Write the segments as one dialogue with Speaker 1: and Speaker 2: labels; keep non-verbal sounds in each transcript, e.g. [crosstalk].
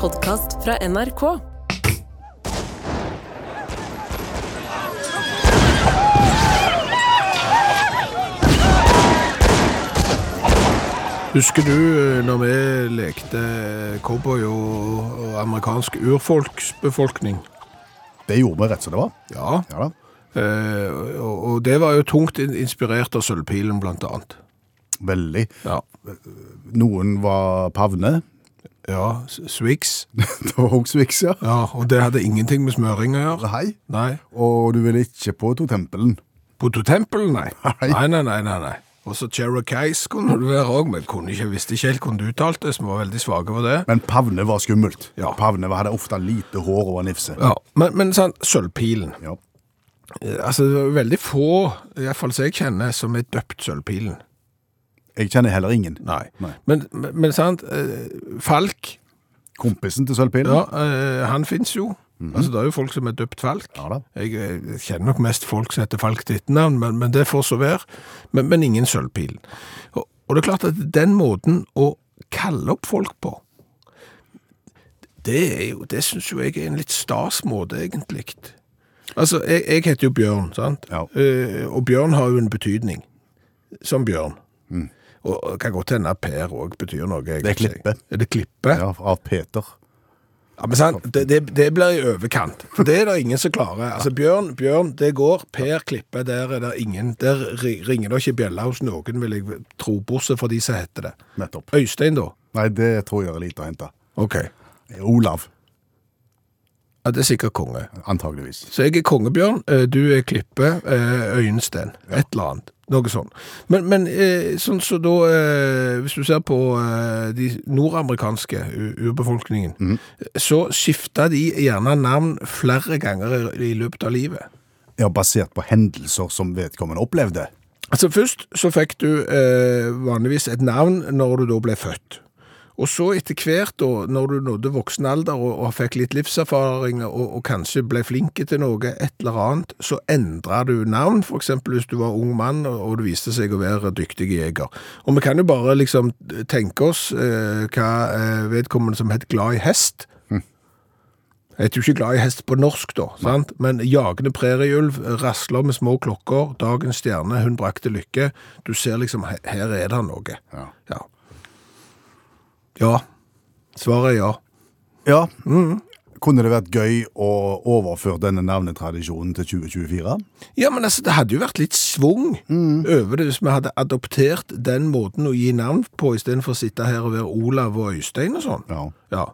Speaker 1: podkast fra NRK.
Speaker 2: Husker du eh, når vi lekte cowboy og, og amerikansk urfolksbefolkning?
Speaker 3: Det gjorde vi rett som det var.
Speaker 2: Ja.
Speaker 3: Ja da.
Speaker 2: Eh, og, og det var jo tungt in- inspirert av Sølvpilen, blant annet.
Speaker 3: Veldig.
Speaker 2: Ja.
Speaker 3: Noen var pavne.
Speaker 2: ja S- Swix.
Speaker 3: [laughs] det var Hogsvix, ja.
Speaker 2: Ja, og det hadde ingenting med smøring å gjøre.
Speaker 3: Hei.
Speaker 2: Nei.
Speaker 3: Og du ville ikke på Totempelen.
Speaker 2: På Tempel, nei.
Speaker 3: Nei.
Speaker 2: Nei, nei, nei, nei. nei. Og så Cherokees kunne du være òg, men kunne ikke, visste ikke helt hvordan du uttalte det, som var veldig svake for det.
Speaker 3: Men pavne var skummelt.
Speaker 2: Ja.
Speaker 3: Pavne hadde ofte lite hår og var nifse.
Speaker 2: Ja, Men, men sånn, Sølvpilen.
Speaker 3: Ja.
Speaker 2: Eh, Altså, det er veldig få, iallfall som jeg kjenner, som er døpt Sølvpilen.
Speaker 3: Jeg kjenner heller ingen.
Speaker 2: Nei.
Speaker 3: Nei.
Speaker 2: Men, men, men sant, eh, Falk,
Speaker 3: Kompisen til Sølvpilen?
Speaker 2: ja, eh, han finnes jo. Altså, det er jo folk som er døpt Falk.
Speaker 3: Ja da.
Speaker 2: Jeg, eh, kjenner nok mest folk som heter Falk til etternavn, men, men det får så være. Men, men ingen sølvpilen. Og, og det er klart at den måten å kalle opp folk på, det, er jo, det synes jo jeg er en litt stas måte, egentlig. Altså, jeg, jeg heter jo Bjørn, sant?
Speaker 3: Ja.
Speaker 2: Eh, og Bjørn har jo en betydning, som Bjørn. Og og kan godt hende at Per òg betyr noe. Jeg,
Speaker 3: Mm.
Speaker 2: vet
Speaker 3: Det er
Speaker 2: ikke.
Speaker 3: klippe.
Speaker 2: Er det klippe?
Speaker 3: Ja, av Peter.
Speaker 2: Ja, men sant, det, det, det blir i overkant. For det er det ingen som klarer. Altså, Bjørn, Bjørn, det går. Per Klippe, der er det ingen. Der ri- ringer det ikke bjella hos noen, vil jeg tro, bortsett fra de som heter det.
Speaker 3: Nettopp.
Speaker 2: Øystein, da?
Speaker 3: Nei, det tror jeg er lite å hente.
Speaker 2: OK.
Speaker 3: Olav,
Speaker 2: Ja, det er sikkert konge.
Speaker 3: antageligvis.
Speaker 2: Så jeg er kongebjørn, eh, du er Klippe, eh, Øyensten. Et eller annet. Noe sånn. Men, men eh, sånn så da eh, Hvis du ser på eh, de nordamerikanske u- urbefolkningen, så skifta de gjerne navn flere ganger i, i løpet av livet.
Speaker 3: Ja, basert på hendelser som vedkommende opplevde.
Speaker 2: Altså Først så fikk du eh, vanligvis et navn når du da ble født. Og så etter hvert, da, når du nådde voksen alder og, og fikk litt livserfaring og, og kanskje ble flink til noe, et eller annet, så endra du navn. For eksempel hvis du var ung mann og, og du viste seg å være dyktig jeger. Og vi kan jo bare liksom tenke oss eh, hva eh, vedkommende som het Glad i hest jeg er jo ikke glad i hest på norsk, da, sant? men jagende prærieulv rasler med små klokker. Dagens stjerne, hun brakte lykke. Du ser liksom, he- her er det noe.
Speaker 3: Ja.
Speaker 2: Ja. ja. Svaret er ja.
Speaker 3: Ja. Mm. Kunne det vært gøy å overføre denne navnetradisjonen til 2024?
Speaker 2: Ja, men altså, det hadde jo vært litt svung
Speaker 3: Mm.
Speaker 2: over det hvis vi hadde adoptert den måten å gi navn på, istedenfor å sitte her og være Olav og Øystein og sånn.
Speaker 3: Ja.
Speaker 2: Ja.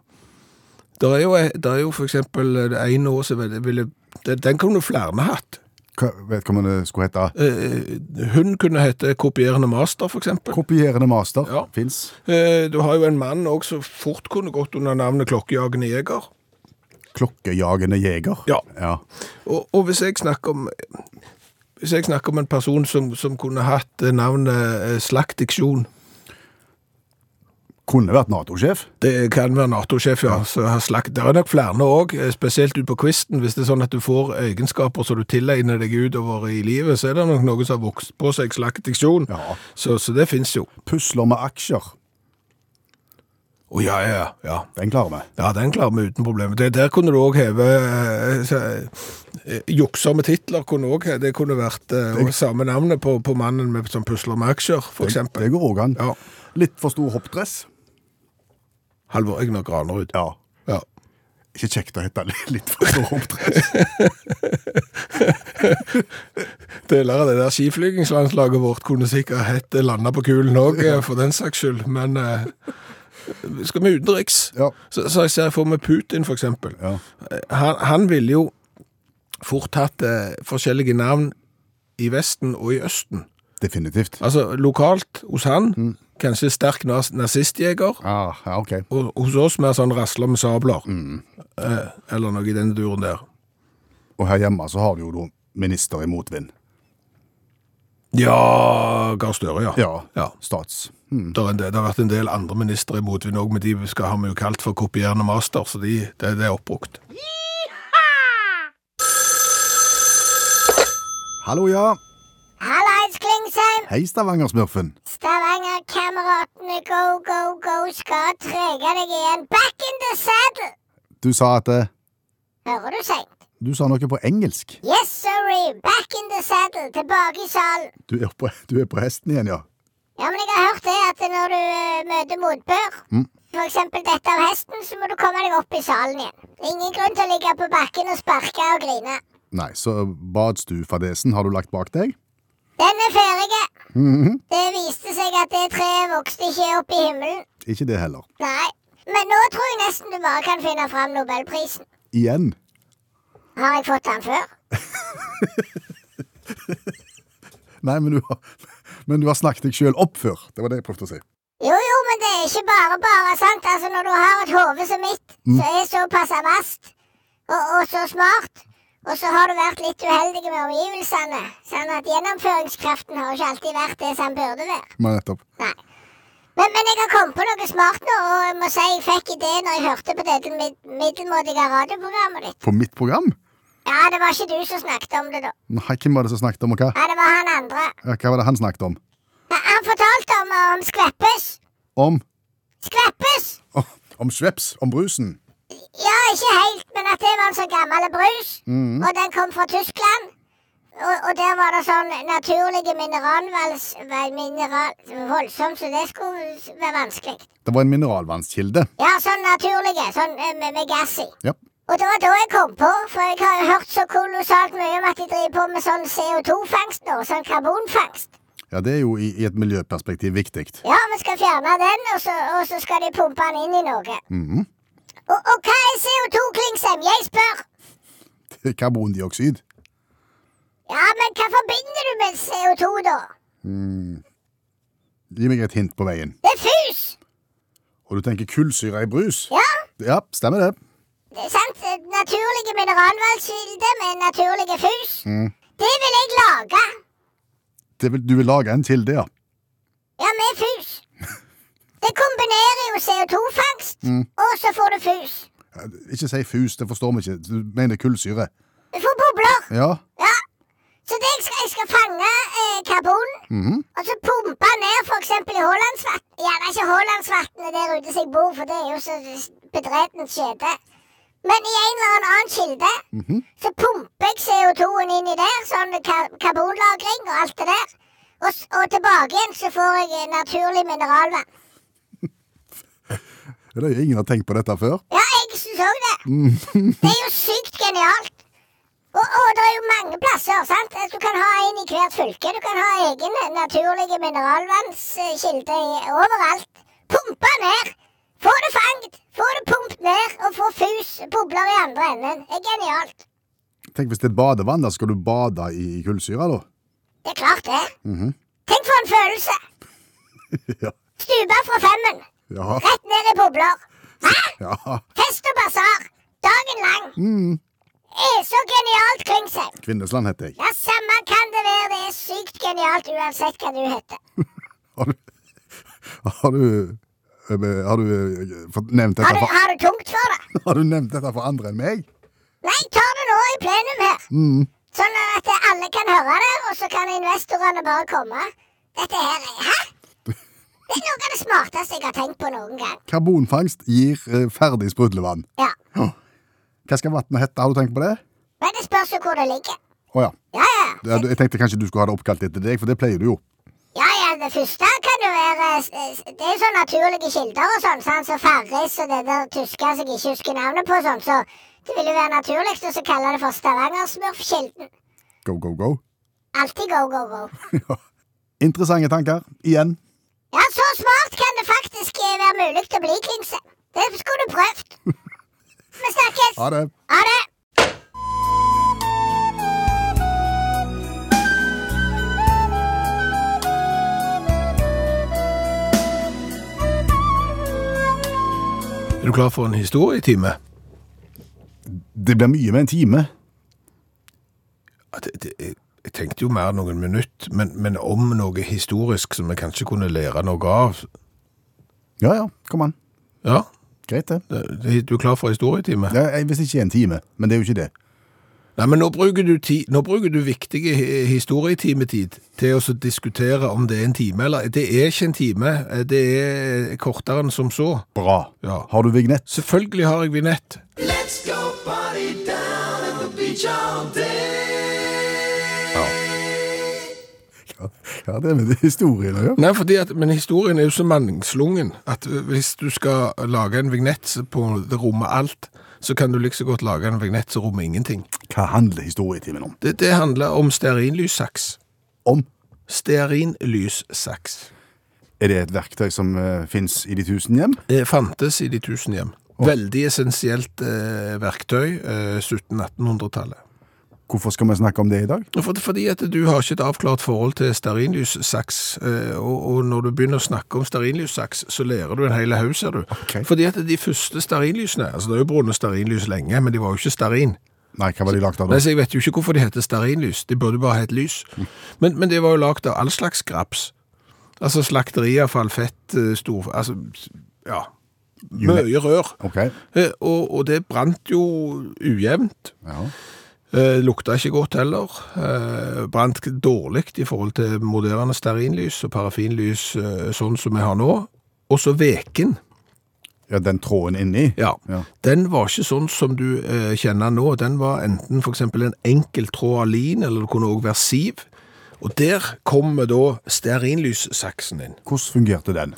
Speaker 2: Det er jo, eh, der er jo for eksempel eh, en år som ville- ville Den den kunne flere hatt.
Speaker 3: Hva, vedkommende skulle hete
Speaker 2: Eh, hun kunne hete kopierende master, for eksempel.
Speaker 3: Kopierende master.
Speaker 2: Eh. Ja.
Speaker 3: Fins.
Speaker 2: Eh, du har jo en mann òg som fort kunne gått under navnet klokkejagende jeger.
Speaker 3: Klokkejagende jeger.
Speaker 2: Ja.
Speaker 3: ja.
Speaker 2: Og, og hvis jeg snakker om hvis jeg snakker om en person som, som kunne hatt eh, navnet eh, Slaktdiksjon
Speaker 3: Kunne vært Nato-sjef.
Speaker 2: Det kan være Nato-sjef, ja. Så har slakt. Det er nok flere òg, spesielt ut på kvisten. Hvis det er sånn at du får egenskaper som du tilegner deg utover i livet, så er det nok noe som har vokst på seg slaktdiksjon.
Speaker 3: Ja.
Speaker 2: Så, så det fins jo.
Speaker 3: Pusler med aksjer.
Speaker 2: Å ja, ja, ja.
Speaker 3: Den klarer vi.
Speaker 2: Ja, den klarer vi uten problemer. Det, der kunne du òg heve eh, så- eh, Jukser med titler kunne òg Det kunne vært eh, og samme navnet på, på mannen med, som pusler med aksjer, f.eks.
Speaker 3: Det går òg an.
Speaker 2: Ja.
Speaker 3: Litt for stor hoppdress.
Speaker 2: Halvor Egner Granerud.
Speaker 3: Ja.
Speaker 2: Ja.
Speaker 3: Ikke kjekt å hete [laughs] li- litt for stor hoppdress.
Speaker 2: Deler av det der skiflygingslandslaget vårt kunne sikkert hett Landa på kulen òg, for den saks skyld, men eh, Skal vi utenriks?
Speaker 3: Ja.
Speaker 2: Så, så jeg ser for meg Putin, for eksempel.
Speaker 3: Ja.
Speaker 2: Han, han ville jo fort hatt eh, forskjellige navn i Vesten og i Østen.
Speaker 3: Definitivt.
Speaker 2: Altså lokalt hos han, kanskje sterk nas nazistjeger,
Speaker 3: Ah, ja, OK.
Speaker 2: og hos oss mer sånn rasler med sabler. Eh, eller noe i den duren der.
Speaker 3: Og her hjemme så har du jo da minister i motvind.
Speaker 2: Ja, Gahr Støre, ja.
Speaker 3: Ja.
Speaker 2: Ja.
Speaker 3: Stats.
Speaker 2: Det, er en del, det har vært en del andre ministre i motvind òg, men de skal ha vi jo kalt for kopierende master, så de, det, det er oppbrukt.
Speaker 3: Hallo, ja.
Speaker 4: Hallais, Klingsheim!
Speaker 3: Hei, Stavanger-smurfen.
Speaker 4: Stavanger-kameratene go, go, go skal trege deg igjen. Back in the med seddel.
Speaker 3: Du sa at eh,
Speaker 4: Hører du seint?
Speaker 3: Du sa noe på engelsk.
Speaker 4: Yes, sorry, back in the saddle, tilbake i salen.
Speaker 3: Du er på, du er på hesten igjen, ja.
Speaker 4: Ja, men jeg har hørt det at når du eh, møter motbør, for eksempel dette av hesten, så må du komme deg opp i salen igjen. Det er ingen grunn til å ligge på bakken og sparke og grine.
Speaker 3: Nei, så badstuefadesen har du lagt bak deg?
Speaker 4: Den er ferdig. Det viste seg at det treet vokste ikke opp i himmelen.
Speaker 3: Ikke det heller.
Speaker 4: Nei. Men nå tror jeg nesten du bare kan finne fram Nobelprisen.
Speaker 3: Igjen.
Speaker 4: Har jeg fått den før?
Speaker 3: Nei, men du har, [laughs] men du har snakket deg sjøl opp før. Det var det jeg prøvde å si.
Speaker 4: Jo, jo, men det er ikke bare bare, sant? Altså, når du har et hode som mitt, som er såpass vast og, og så smart, og så har du vært litt uheldig med omgivelsene, sånn at gjennomføringskraften har jo ikke alltid vært det som den burde være.
Speaker 3: Men nettopp.
Speaker 4: Nei. Men, men jeg har kommet på noe smart nå, og jeg må si jeg fikk ideen når jeg hørte på dette mid middelmådige radioprogrammet ditt.
Speaker 3: På mitt program?
Speaker 4: Ja, det var ikke du som snakket om det da.
Speaker 3: Nei, hvem var det som snakket om, og hva?
Speaker 4: Ja, det var han andre.
Speaker 3: Ja, Hva var det han snakket om?
Speaker 4: Han- Han fortalte om, om skveppes.
Speaker 3: Om [laughs]
Speaker 4: Skveppes!
Speaker 3: Åh, Om Sveps, om brusen.
Speaker 4: Ja, ikke helt, men at det var en sånn gammel brus. Og den kom fra Tyskland. Og, og der var det sånn naturlige mineralvals... vel, Mineral, voldsomt, så det skulle s- være vanskelig.
Speaker 3: Det var en mineralvannskilde.
Speaker 4: Ja, sånn naturlige. Sånn eh, med, med gass i.
Speaker 3: Ja.
Speaker 4: Og det var da jeg kom på, for jeg har jo hørt så kolossalt mye om at de driver på med sånn CO2-fangst nå. Sånn karbonfangst.
Speaker 3: ja, det er jo i, i et miljøperspektiv viktig.
Speaker 4: Ja, vi skal fjerne den, og så, og så skal de pumpe den inn i noe.
Speaker 3: Mhm.
Speaker 4: Og, og hva er CO2, Klingsheim? Jeg spør!
Speaker 3: Det er Karbondioksid.
Speaker 4: Ja, men hva forbinder du med CO2, da?
Speaker 3: Gi meg et hint på veien.
Speaker 4: Det er fus!
Speaker 3: Og du tenker kullsyre i brus?
Speaker 4: Ja,
Speaker 3: Ja, stemmer det.
Speaker 4: det er sant. Naturlige mineralvannkilder med naturlige fus. Det vil jeg lage.
Speaker 3: det vil, du vil lage en kilde, ja.
Speaker 4: Ja, med fus. Det kombinerer jo CO2-fangst, og så får du fus.
Speaker 3: Ja, Ikke si fus, det forstår vi ikke. Du mener kullsyre.
Speaker 4: Du får bobler.
Speaker 3: Ja,
Speaker 4: Ja. Så det jeg, skal, jeg skal fange eh, karbon, og så pumpe ned f.eks. i Haalandsvatn. Gjerne ikke Haalandsvatnet der ute som jeg bor, for det er jo så bedretent skjede. Men i en eller annen annen kilde så pumper jeg CO2-en inn i der, sånn ka karbonlagring og alt det der. Og, s- og tilbake igjen så får jeg eh, naturlig mineralvann.
Speaker 3: det er jo ingen har tenkt på dette før.
Speaker 4: Ja, jeg syns òg det. det er jo sykt genialt. Og, og det er jo mange plasser. sant? Du kan ha en i hvert fylke. Du kan ha egen naturlige mineralvannskilde i- overalt. Pumpe ned. Få det fanget, få det pumpet ned, og få fus, bobler i andre enden. Det er genialt.
Speaker 3: Tenk hvis det er badevann, da skal du bade i kullsyre, da.
Speaker 4: Det er klart, det. Tenk for en følelse.
Speaker 3: ja.
Speaker 4: Stupe fra femmen.
Speaker 3: Ja.
Speaker 4: Rett ned i bobler. Hæ?
Speaker 3: ja.
Speaker 4: Fest og basar. Dagen lang.
Speaker 3: Mm.
Speaker 4: Er så genialt, Klingsheim.
Speaker 3: Kvinnesland heter jeg.
Speaker 4: Ja, samme kan det være. Det er sykt genialt uansett hva du heter.
Speaker 3: Har du Har du, eh, har du eh, fått nevnt
Speaker 4: Har
Speaker 3: dette
Speaker 4: du,
Speaker 3: for,
Speaker 4: har du tungt for det?
Speaker 3: har du nevnt dette for andre enn meg?
Speaker 4: Nei, tar det nå i plenum her. Sånn at alle kan høre det, og så kan investorene bare komme. Dette her er Hæ? Det er noe av det smarteste jeg har tenkt på noen gang.
Speaker 3: Karbonfangst gir eh, ferdig sprudlevann.
Speaker 4: Ja.
Speaker 3: Hva skal vannet hete, har du tenkt på det?
Speaker 4: Men det spørs jo hvor det ligger.
Speaker 3: Å ja.
Speaker 4: Ja, ja.
Speaker 3: Ja, du- Jeg tenkte kanskje du skulle ha det oppkalt etter deg, for det pleier du jo.
Speaker 4: Ja, ja, Det første kan jo være s- s- Det er jo sånn naturlige kilder og sånn, sånn som Farris og det der tyske som jeg ikke husker navnet på, sånn, så det vil jo være naturlig å så kalle det for Stavangersmurfkilden.
Speaker 3: Go, go, go. [laughs]
Speaker 4: Alltid go, go, go.
Speaker 3: Ja. Interessante tanker. Igjen.
Speaker 4: Ja, så smart kan det faktisk eh, være mulig å bli, Klingse. Det skulle du prøvd.
Speaker 3: [laughs]
Speaker 4: Vi snakkes.
Speaker 3: Ha det.
Speaker 4: Ha det.
Speaker 2: Er du klar for en historietime?
Speaker 3: Det blir mye med en time.
Speaker 2: Ja, det- det- Jeg jeg tenkte jo mer noen minutt, men, men om noe historisk som vi kanskje kunne lære noe av.
Speaker 3: Ja, ja. Kom an.
Speaker 2: Ja,
Speaker 3: Greit, det.
Speaker 2: det- det- du er klar for historietime?
Speaker 3: Ja, jeg- hvis ikke en time, men det er jo ikke det.
Speaker 2: Nei, men nå bruker du, ti, nå bruker du viktige hi- historietimetid til å så diskutere om det er en time eller Det er ikke en time, eh, det er kortere enn som så.
Speaker 3: Bra.
Speaker 2: Ja.
Speaker 3: Har du vignett?
Speaker 2: Selvfølgelig har jeg vignett.
Speaker 1: Let's go party down at the beach all day.
Speaker 3: Ja, det er med historien å gjøre.
Speaker 2: Nei, fordi at, men historien er jo så mannslungen at eh, hvis du skal lage en vignett på det rommet alt, så kan du like så godt lage en vignett som rommer ingenting.
Speaker 3: Hva handler historietimen om?
Speaker 2: Det, det handler om stearinlyssaks.
Speaker 3: Om?
Speaker 2: Stearinlyssaks.
Speaker 3: Er det et verktøy som uh, fins i de tusen hjem?
Speaker 2: Det fantes i de tusen hjem. Veldig essensielt eh, verktøy, eh, 1700-1800-tallet.
Speaker 3: Hvorfor skal vi snakke om det i dag?
Speaker 2: Og For, fordi at du har ikke et avklart forhold til stearinlyssaks, eh, og, og når du begynner å snakke om stearinlyssaks, så lærer du en hel haug, ser du.
Speaker 3: Ok.
Speaker 2: Fordi at de første stearinlysene, altså det er jo brune stearinlys lenge, men de var jo ikke stearin.
Speaker 3: Nei, hva var de lagd av
Speaker 2: Nei,
Speaker 3: da?
Speaker 2: så jeg vet jo ikke hvorfor de heter stearinlys, de burde bare hett lys. Men, men det var jo lagd av all slags graps. Altså slakteriavfall, fett, eh, stor... Altså, ja, mye rør.
Speaker 3: Ok,
Speaker 2: Eh, Og, og det brant jo ujevnt.
Speaker 3: ja.
Speaker 2: Eh, lukta ikke godt heller. Eh, brant dårlig i forhold til moderne stearinlys og parafinlys eh, sånn som vi har nå. Og så veken.
Speaker 3: ja den tråden inni?
Speaker 2: Ja.
Speaker 3: Ja.
Speaker 2: Den var ikke sånn som du eh, kjenner nå. Den var enten f.eks. en enkel tråd av lin, eller det kunne òg være siv. Og der kommer da stearinlyssaksen inn.
Speaker 3: Hvordan fungerte den?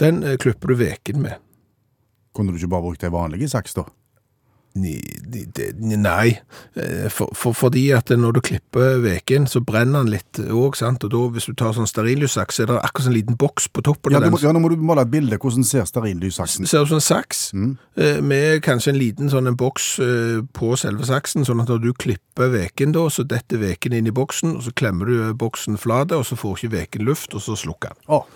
Speaker 2: Den eh, klipper du veken med.
Speaker 3: Kunne du ikke bare brukt ei vanlig saks, da?
Speaker 2: Ni- ni- det- ni- Nei, Eh, for, for, fordi at når du klipper veken, så brenner den litt òg, sant. Og da, hvis du tar sånn stearinlyssaks, så er det akkurat sånn liten boks på toppen
Speaker 3: Ja,
Speaker 2: av
Speaker 3: du
Speaker 2: den.
Speaker 3: må, ja, nå må du male et bilde. Hvordan ser stearinlyssaksen
Speaker 2: Det ser ut som en saks,
Speaker 3: Mm.
Speaker 2: eh, med kanskje en liten sånn en boks eh, på selve saksen, sånn at når du klipper veken da, så detter veken inn i boksen, og så klemmer du eh, boksen flate, og så får ikke veken luft, og så slukker den.
Speaker 3: Å,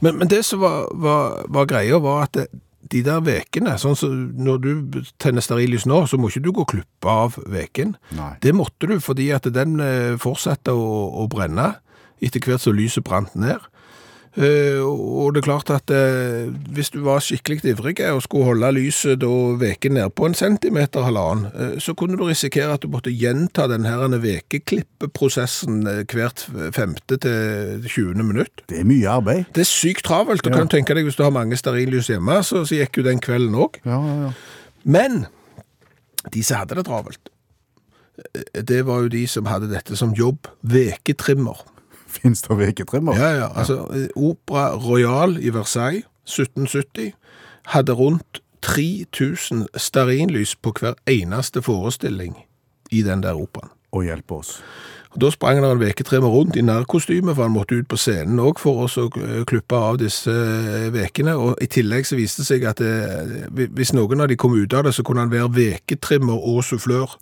Speaker 2: Men, men det som var, var, var greia, var at det, de der vekene, sånn som når du tenner stearinlys nå, så må ikke du gå og klippe av veken.
Speaker 3: Nei.
Speaker 2: Det måtte du, fordi at den eh, fortsatte å, å brenne etter hvert som lyset brant ned. Eh, og det er klart at eh, hvis du var skikkelig ivrig og skulle holde lyset da veken ned på en centimeter halvannen, eh, så kunne du risikere at du måtte gjenta den her vekeklippeprosessen eh, hvert femte til 20. minutt.
Speaker 3: det er mye arbeid.
Speaker 2: Det er sykt travelt. Du kan jo tenke deg hvis du har mange stearinlys hjemme, så, så gikk jo den kvelden òg.
Speaker 3: Ja, ja, ja.
Speaker 2: Men de som hadde det travelt, eh, det var jo de som hadde dette som jobb. Veketrimmer.
Speaker 3: Fins det veketrimmer?
Speaker 2: Ja, ja. Altså, eh, Opera Royal i Versailles 1770 hadde rundt 3000 stearinlys på hver eneste forestilling i den der operaen.
Speaker 3: Og hjelpe oss. [laughs]
Speaker 2: Og Da sprang det en veketrimmer rundt i nærkostyme, for han måtte ut på scenen òg for å så, eh, klippe av disse eh, vekene. Og I tillegg så viste det seg at eh, hvi- hvis noen av de kom ut av det, så kunne han være veketrimmer og sufflør.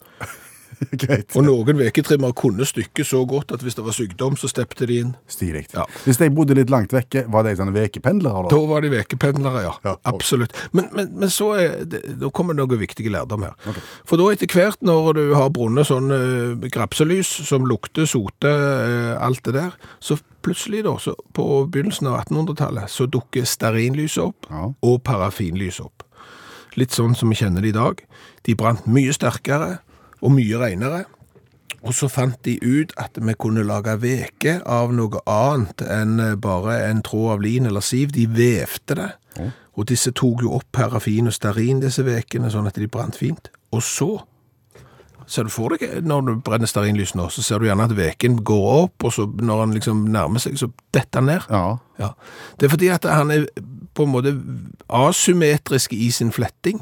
Speaker 3: Greit.
Speaker 2: Og noen veketrimmer kunne stykket så godt at hvis det var sykdom, så steppte de inn.
Speaker 3: Stilig.
Speaker 2: Ja.
Speaker 3: Hvis de bodde litt langt vekke, var de sånne vekependlere da?
Speaker 2: Da var de vekependlere, ja.
Speaker 3: Ja, ok.
Speaker 2: Absolutt. Men, men, men så er det, da kommer det noe viktig lærdom her. For da etter hvert, når du har brunnet sånn eh, grapselys som lukter sote, eh, alt det der, så plutselig da, så på begynnelsen av 1800-tallet, så dukker stearinlyset opp,
Speaker 3: Ja.
Speaker 2: og parafinlys opp. Litt sånn som vi kjenner det i dag. De brant mye sterkere, og mye renere. Og så fant de ut at vi kunne lage veke av noe annet enn eh, bare en tråd av lin eller siv. De vevte det. Og disse tok jo opp parafin og stearin disse vekene, sånn at de brant fint. Og så ser du for deg eh, når du brenner stearinlys nå, så ser du gjerne at veken går opp, og så når han liksom nærmer seg, så detter han ned.
Speaker 3: Ja.
Speaker 2: Ja. Det er fordi at han er på en måte asymmetrisk i sin fletting.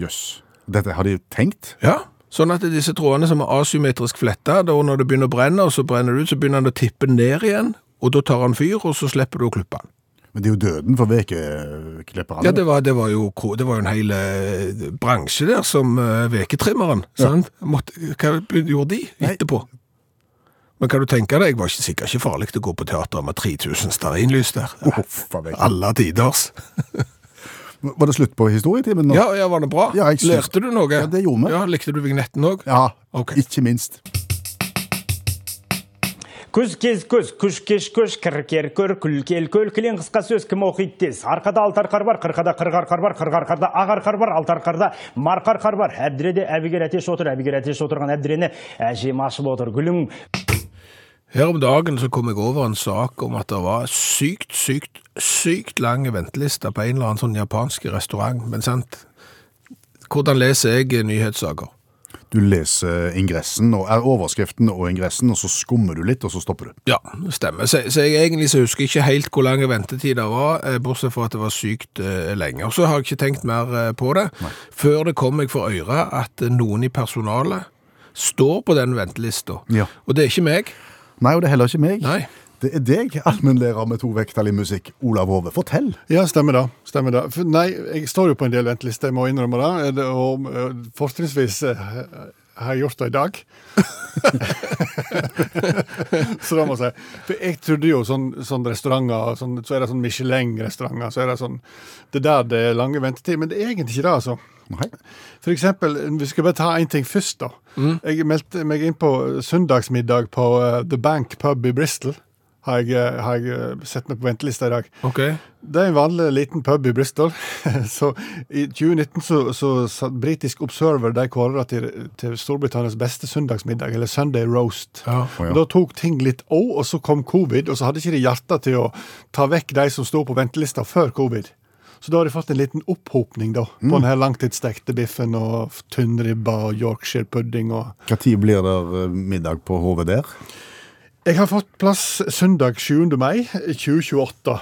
Speaker 3: Jøss. Dette har de tenkt?
Speaker 2: Ja, sånn at disse trådene som er asymmetrisk fletta, da når det begynner å brenne, og så brenner det ut, så begynner den å tippe ned igjen, og da tar han fyr, og så slipper du å klippe han.
Speaker 3: Men det er jo døden for vekeklipperne.
Speaker 2: Ja, det var, det var, jo, kro- det var jo en hel eh, bransje der som eh, veketrimmeren, sant? Måtte, hva gjorde de
Speaker 3: Nei.
Speaker 2: etterpå? Men kan du tenke deg, jeg var ikke sikkert ikke farlig til å gå på teater med 3000 stearinlys der.
Speaker 3: Uff, hva vet jeg.
Speaker 2: Alle tiders.
Speaker 3: Var det slutt på historietimen nå?
Speaker 2: Ja, ja, var det bra?
Speaker 3: Ja, jeg synes-
Speaker 2: Lærte du noe?
Speaker 3: Ja, det gjorde vi.
Speaker 2: Ja, likte du vignetten også?
Speaker 3: Ja,
Speaker 2: Ok.
Speaker 3: ikke minst.
Speaker 5: көз көз күш кеш көш кір кер көр күл кел көл кілең қысқа сөз кім оқиды тез арқада алты арқар бар қырқада қырық арқар бар қырық арқарда ақ арқар бар алты арқарда марқа арқар бар әбдіреде әбігер әтеш отыр әбігер әтеш отырған әбдірені әжем ашып отыр гүлің
Speaker 2: Her om dagen så kom jeg over en sak om at det var sykt, sykt, sykt lange ventelister på en eller annen sånn japansk restaurant, men sant? Hvordan leser jeg eh, nyhetssaker?
Speaker 3: Du leser ingressen og er overskriften og ingressen, og så skummer du litt, og så stopper du.
Speaker 2: Ja, det stemmer. Så, så jeg egentlig så husker jeg ikke helt hvor lang ventetid det var, eh, bortsett fra at det var sykt eh, lenge. Og så har jeg ikke tenkt mer eh, på det, før det kom meg for øyre at eh, noen i personalet står på den ventelista.
Speaker 3: Ja.
Speaker 2: Og det er ikke meg.
Speaker 3: Nei, og det er heller ikke meg.
Speaker 2: Nei.
Speaker 3: Det er deg, allmennlærer med to vekttall i musikk, Olav Hove. Fortell.
Speaker 6: Ja, stemmer det. Stemmer det. For nei, jeg står jo på en del ventelister, jeg må innrømme det. Eh, det- Og eh, fortrinnsvis eh, har jeg gjort det i dag. [laughs] så det må jeg si. For jeg trodde jo sånn, sånn restauranter, sånn, så er det sånn Michelin-restauranter, så er det sånn Det er der det er lange ventetider, men det er egentlig ikke det, altså.
Speaker 3: Nei.
Speaker 6: For eksempel, vi skal bare ta én ting først, da. Jeg meldte meg inn på søndagsmiddag på eh, The Bank pub i Bristol. Har jeg, eh, har jeg eh, sett meg på ventelista i dag.
Speaker 2: Ok.
Speaker 6: Det er en vanlig liten pub i Bristol. [laughs] så I 2019 så, så satt britisk Observer de kåret til, til Storbritannias beste søndagsmiddag, eller Sunday roast.
Speaker 2: Ja.
Speaker 3: Å, ja.
Speaker 6: Da tok ting litt å, og så kom covid, og så hadde ikke de hjerte til å ta vekk de som sto på ventelista før covid. Så da har de fått en liten opphopning da, på
Speaker 3: Mm.
Speaker 6: den her langtidsstekte biffen og tynnribba og Yorkshire pudding og
Speaker 3: Når blir det eh, middag på Hove der?
Speaker 6: Jeg har fått plass søndag 7. mai 2028.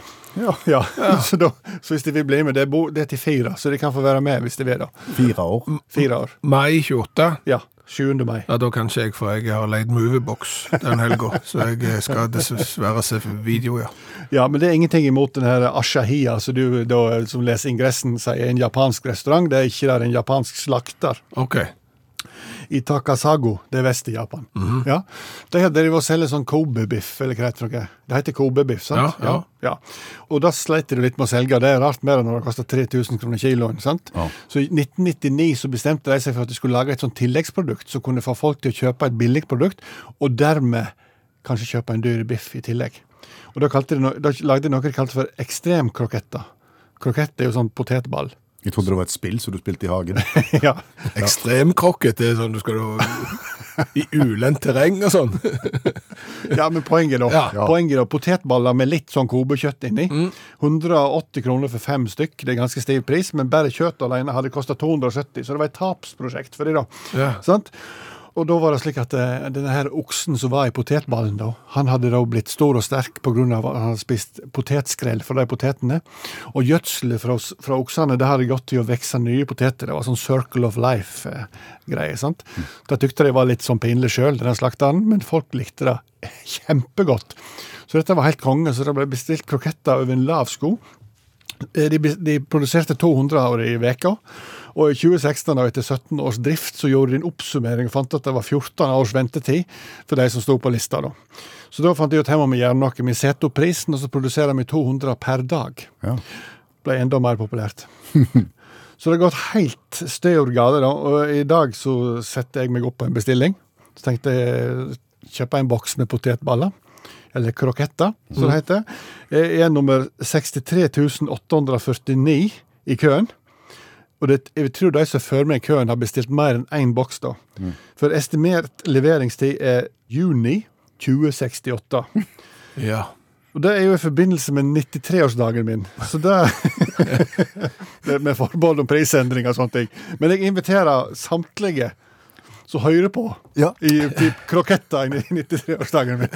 Speaker 6: Ja. [laughs] Så, da, så hvis de vil bli med, det er, bo, det er til fire, så de kan få være med hvis de vil. da.
Speaker 3: Fire år.
Speaker 2: Mm.
Speaker 6: Fire år.
Speaker 2: Mai 28.
Speaker 6: Ja. 7. mai.
Speaker 2: Ja, da kan ikke jeg, for jeg har leid Moviebox den helga, så jeg eh, skal dessverre se video, ja.
Speaker 6: Ja, Men det er ingenting imot den her ashahia som du da, som leser ingressen sier en japansk restaurant. Det er ikke der en japansk slakter.
Speaker 2: Ok.
Speaker 6: I Takasago, det er vest i Japan.
Speaker 2: Mhm.
Speaker 6: ja. De har drevet og selger sånn kobebiff, eller hva heter det? for noe? Det heter kobebiff, sant?
Speaker 2: Ja, ja.
Speaker 6: ja. Og da sleit de litt med å selge. Det er rart mer enn når det koster 3000 kroner kiloen. sant?
Speaker 3: Ja.
Speaker 6: Så i 1999 så bestemte de seg for at de skulle lage et sånt tilleggsprodukt som kunne få folk til å kjøpe et billig produkt, og dermed kanskje kjøpe en dyr biff i tillegg. Og da, kalte de no da lagde de noe de kalte for ekstremkroketter. Krokett er jo sånn potetball. [laughs]
Speaker 3: Jeg trodde det var et spill som du spilte i
Speaker 2: [laughs]
Speaker 3: hagen.
Speaker 6: ja.
Speaker 2: Ekstremkrokket det er sånn du skal da I ulendt terreng og sånn.
Speaker 6: Ja, men poenget da,
Speaker 2: Ja. Mm.
Speaker 6: poenget da Potetballer med litt sånn kobekjøtt inni. 180 kroner for fem stykk, det er ganske stiv pris, men bare kjøtt alene hadde kosta 270, så det var et tapsprosjekt for de da.
Speaker 2: Ja.
Speaker 6: Sant? Og da var det slik at eh, denne her oksen som var i potetballen, da, han hadde da blitt stor og sterk pga. at han hadde spist potetskrell fra de potetene. Og gjødselet fra, os- fra oksene det hadde gått til å vokse nye poteter. Det var sånn circle of life-greie. sant? Da tykte de var litt sånn pinlig sjøl, denne slakteren, men folk likte det [laughs] kjempegodt. Så dette var helt konge, så det ble bestilt kroketter over en lav sko. Eh, De, bes- de produserte 200 av det i veka, og i 2016, da, etter 17 års drift, så gjorde de en oppsummering og fant at det var 14 års ventetid for de som sto på lista. da. Så da fant de ut her må vi gjøre noe. Vi setter opp prisen, og så produserer vi 200 per dag.
Speaker 3: Ja.
Speaker 6: Ble enda mer populært. [laughs] så det har gått helt stør gale, da. Og i dag så setter jeg meg opp på en bestilling. Så tenkte jeg kjøpe en boks med potetballer. Eller kroketter, som det heter. Jeg er nummer 63849 i køen. Og det, jeg tror de som er før meg i køen, har bestilt mer enn én boks, da. For estimert leveringstid er juni 2068.
Speaker 2: Ja.
Speaker 6: Og det er jo i forbindelse med 93-årsdagen min, så det, det [laughs] Med forbehold om prisendring og sånne ting. Men jeg inviterer samtlige som hører på,
Speaker 3: Ja.
Speaker 6: i typ kroketter i 93-årsdagen min.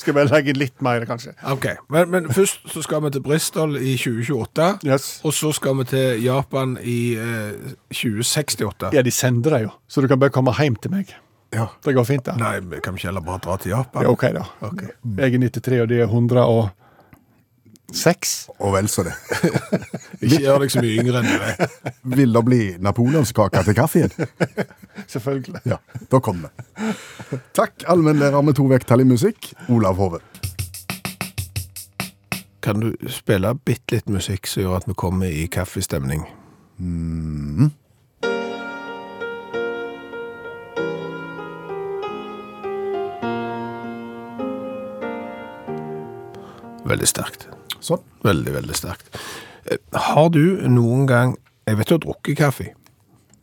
Speaker 6: Skal bare legge inn litt mer, kanskje.
Speaker 2: Ok, men, men først så skal vi til Bristol i 2028,
Speaker 6: Yes.
Speaker 2: og så skal vi til Japan i eh, 2068.
Speaker 6: Ja, de sender deg jo, så du kan bare komme hjem til meg.
Speaker 2: Ja.
Speaker 6: Det går fint, det.
Speaker 2: Nei, vi kan ikke heller bare dra til Japan.
Speaker 6: Ja, OK, da.
Speaker 2: Ok.
Speaker 6: Jeg er 93, og de er 106.
Speaker 3: Og vel så det.
Speaker 2: [laughs] Ikke gjør deg så mye yngre enn du er.
Speaker 3: Vil det bli napoleonskake til kaffen?
Speaker 6: Selvfølgelig.
Speaker 3: Ja, da kommer vi. Takk, allmennlærer med to vekttall i musikk, Olav Hove.
Speaker 2: Kan du spille bitte litt musikk som gjør at vi kommer i kaffestemning? Veldig sterkt.
Speaker 3: Sånn.
Speaker 2: Veldig, veldig sterkt. Eh, Har du noen gang Jeg vet du har drukket kaffe,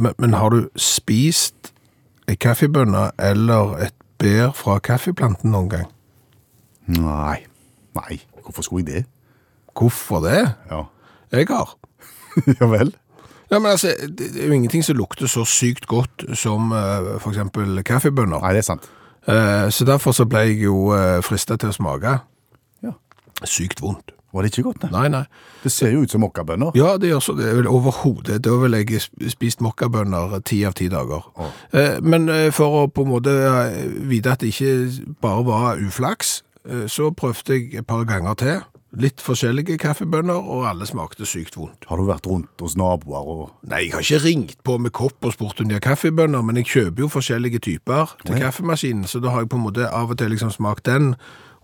Speaker 2: men, men har du spist ei kaffebønne eller et bær fra kaffeplanten noen gang?
Speaker 3: Nei. Nei. Hvorfor skulle jeg det?
Speaker 2: Hvorfor det?
Speaker 3: Ja, [laughs]
Speaker 2: Jeg har.
Speaker 3: ja vel.
Speaker 2: Ja, men altså, Det det er jo ingenting som lukter så sykt godt som eh, for eksempel kaffebønner.
Speaker 3: Nei, det er sant.
Speaker 2: Eh, Så derfor så ble jeg jo frista til å smake.
Speaker 3: Ja.
Speaker 2: Sykt vondt.
Speaker 3: Var det ikke godt? Nei.
Speaker 2: Nei, nei.
Speaker 3: Det ser jo ut som mokkabønner.
Speaker 2: Ja, det gjør så det. er vel Overhodet. Da ville jeg sp- spist mokkabønner ti av ti dager. Eh, Men eh, for å på en måte eh, vite at det ikke bare var uflaks, eh, så prøvde jeg et par ganger til. Litt forskjellige kaffebønner, og alle smakte sykt vondt.
Speaker 3: Har du vært rundt hos naboer og
Speaker 2: Nei, jeg har ikke ringt på med kopp og spurt om de har kaffebønner, men jeg kjøper jo forskjellige typer til kaffemaskinen, så da har jeg på en måte av og til liksom smakt den,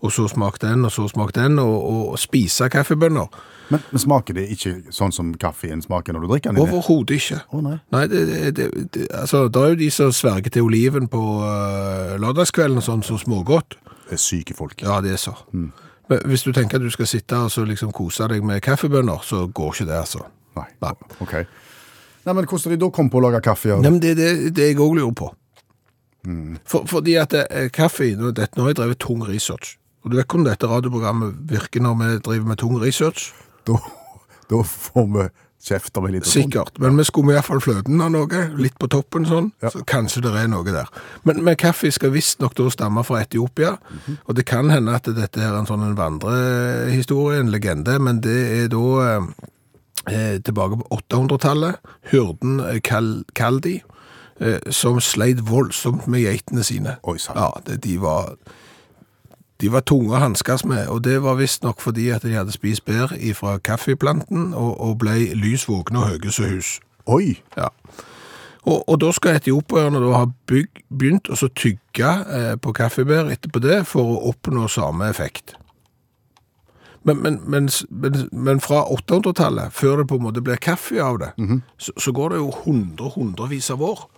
Speaker 2: og så smakt den, og så smakt den, og, og spise kaffebønner.
Speaker 3: men, men smaker det ikke sånn som kaffen smaker når du drikker den? Inne?
Speaker 2: Overhodet ikke.
Speaker 3: eh, Å, nei.
Speaker 2: det, det, det, altså, det er jo de som sverger til oliven på øh, lørdagskvelden og sånn, så smågodt.
Speaker 3: Det er syke folk.
Speaker 2: Ja, det er så.
Speaker 3: Mm.
Speaker 2: Men hvis du tenker at du skal sitte og så liksom kose deg med kaffebønner, så går ikke det, altså.
Speaker 3: Nei.
Speaker 2: Nei.
Speaker 3: Ok. Nei, men hvordan de da kom på å lage kaffe?
Speaker 2: Nei,
Speaker 3: Og...
Speaker 2: men det er det, det jeg òg lurer på. For, fordi at eh, kaffe nå, dette, nå har jeg drevet tung research. Og du vet hvordan dette radioprogrammet virker når vi driver med tung research?
Speaker 3: Da, da får vi kjeft om en liten stund.
Speaker 2: Sikkert. Men vi skummer iallfall fløten av noe, litt på toppen sånn. Så kanskje det er noe der. Men, men kaffe skal visstnok da stamme fra Etiopia. Og det kan hende at dette er en sånn en vandrehistorie, en legende, men det er da eh, eh, tilbake på 800-tallet. Hyrden eh, Kal Kaldi, eh, som sleit voldsomt med geitene sine.
Speaker 3: Oi, sant.
Speaker 2: Ja, det, de var... De var tunge å hanskes med, og det var visstnok fordi at de hadde spist bær fra kaffeplanten og, og ble lys våkne og høye som hus.
Speaker 3: Oi!
Speaker 2: Ja. Og, og da skal etiopierne da ha bygg, begynt å så tygge eh, på kaffebær etterpå det for å oppnå samme effekt. Men, men, men, s- men, men fra 800-tallet, før det på en måte blir kaffe av det, så, så går det jo hundre, hundrevis av år.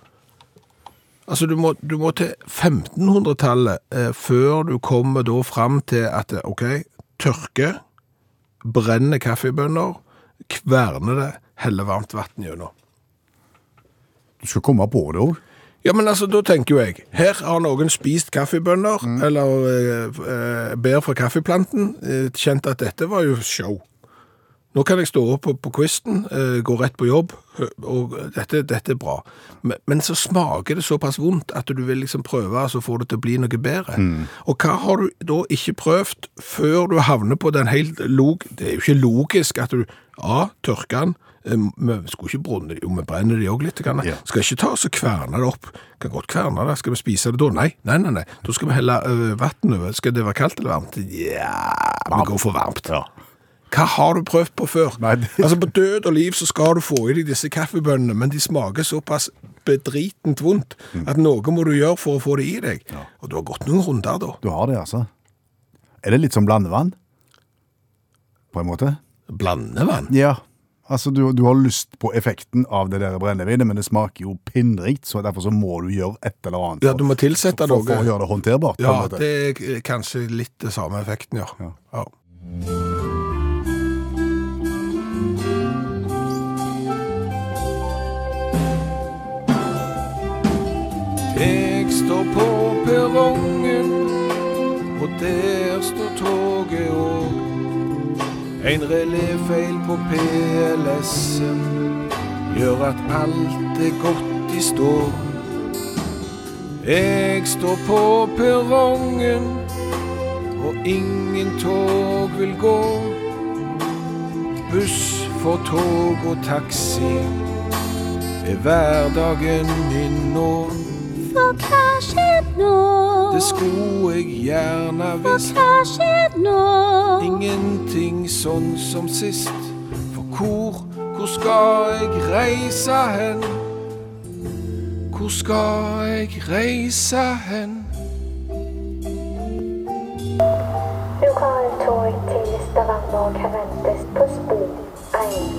Speaker 2: Altså, du må, du må til 1500-tallet eh, før du kommer da fram til at, eh, ok, tørke, brenne kaffebønner, kverne det, helle varmt vatten gjennom.
Speaker 3: Du skal komme på det òg.
Speaker 2: Ja, men altså, da tenker jo jeg, her har noen spist kaffebønner, eller eh, eh, bær fra kaffeplanten, eh, kjent at dette var jo show. Nå kan jeg stå opp på, på kvisten, eh, gå rett på jobb, hø- og dette, dette er bra. Men, men så smaker det såpass vondt at du vil liksom prøve, og så får det til å bli noe bedre. Og hva har du da ikke prøvd før du havner på den helt log... Det er jo ikke logisk at du, A, tørker den, Eh, vi skulle ikke brunne det, jo, vi brenner det jo litt, grann.
Speaker 3: Ja.
Speaker 2: skal ikke ta oss og kverne det opp, kan godt kverne det, skal vi spise det da? Nei, nei, nei, nei, da skal vi helle ø, vatten over, skal det være kaldt eller varmt? Ja, vi går for varmt. Hva har du prøvd på før?
Speaker 3: Nei, det-
Speaker 2: Altså på død og liv så skal du få i deg disse kaffebønnene, men de smaker såpass bedritent vondt at noe må du gjøre for å få det i deg. Og du har gått noen runder da.
Speaker 3: Du har det, altså. Er det litt som blandevann? På en måte?
Speaker 2: Blandevann.
Speaker 3: Ja. Altså, du, du har lyst på effekten av det der brennevinet, men det smaker jo pinnrikt, så derfor så må du gjøre et eller annet.
Speaker 2: Ja, du må tilsette
Speaker 3: for, for å
Speaker 2: noe.
Speaker 3: gjøre det håndterbart. på en
Speaker 2: Ja,
Speaker 3: måte.
Speaker 2: det er eh, kanskje litt det samme effekten, ja.
Speaker 3: Ja.
Speaker 2: ja.
Speaker 1: Jeg står på perrongen, og der står toget òg. En reléfeil på PLS-en gjør at alt er gått i stå. Jeg står på perrongen, og ingen tog vil gå. Buss for tog og taxi er hverdagen min nå.
Speaker 7: For hva skjer nå?
Speaker 1: Det skulle jeg gjerne visst.
Speaker 7: Hva skjer nå?
Speaker 1: Ingenting sånn som sist. For hvor, hvor skal jeg reise hen? Hvor skal jeg reise hen?
Speaker 8: Du har et tog til Stavanger og kan ventes på spor 1.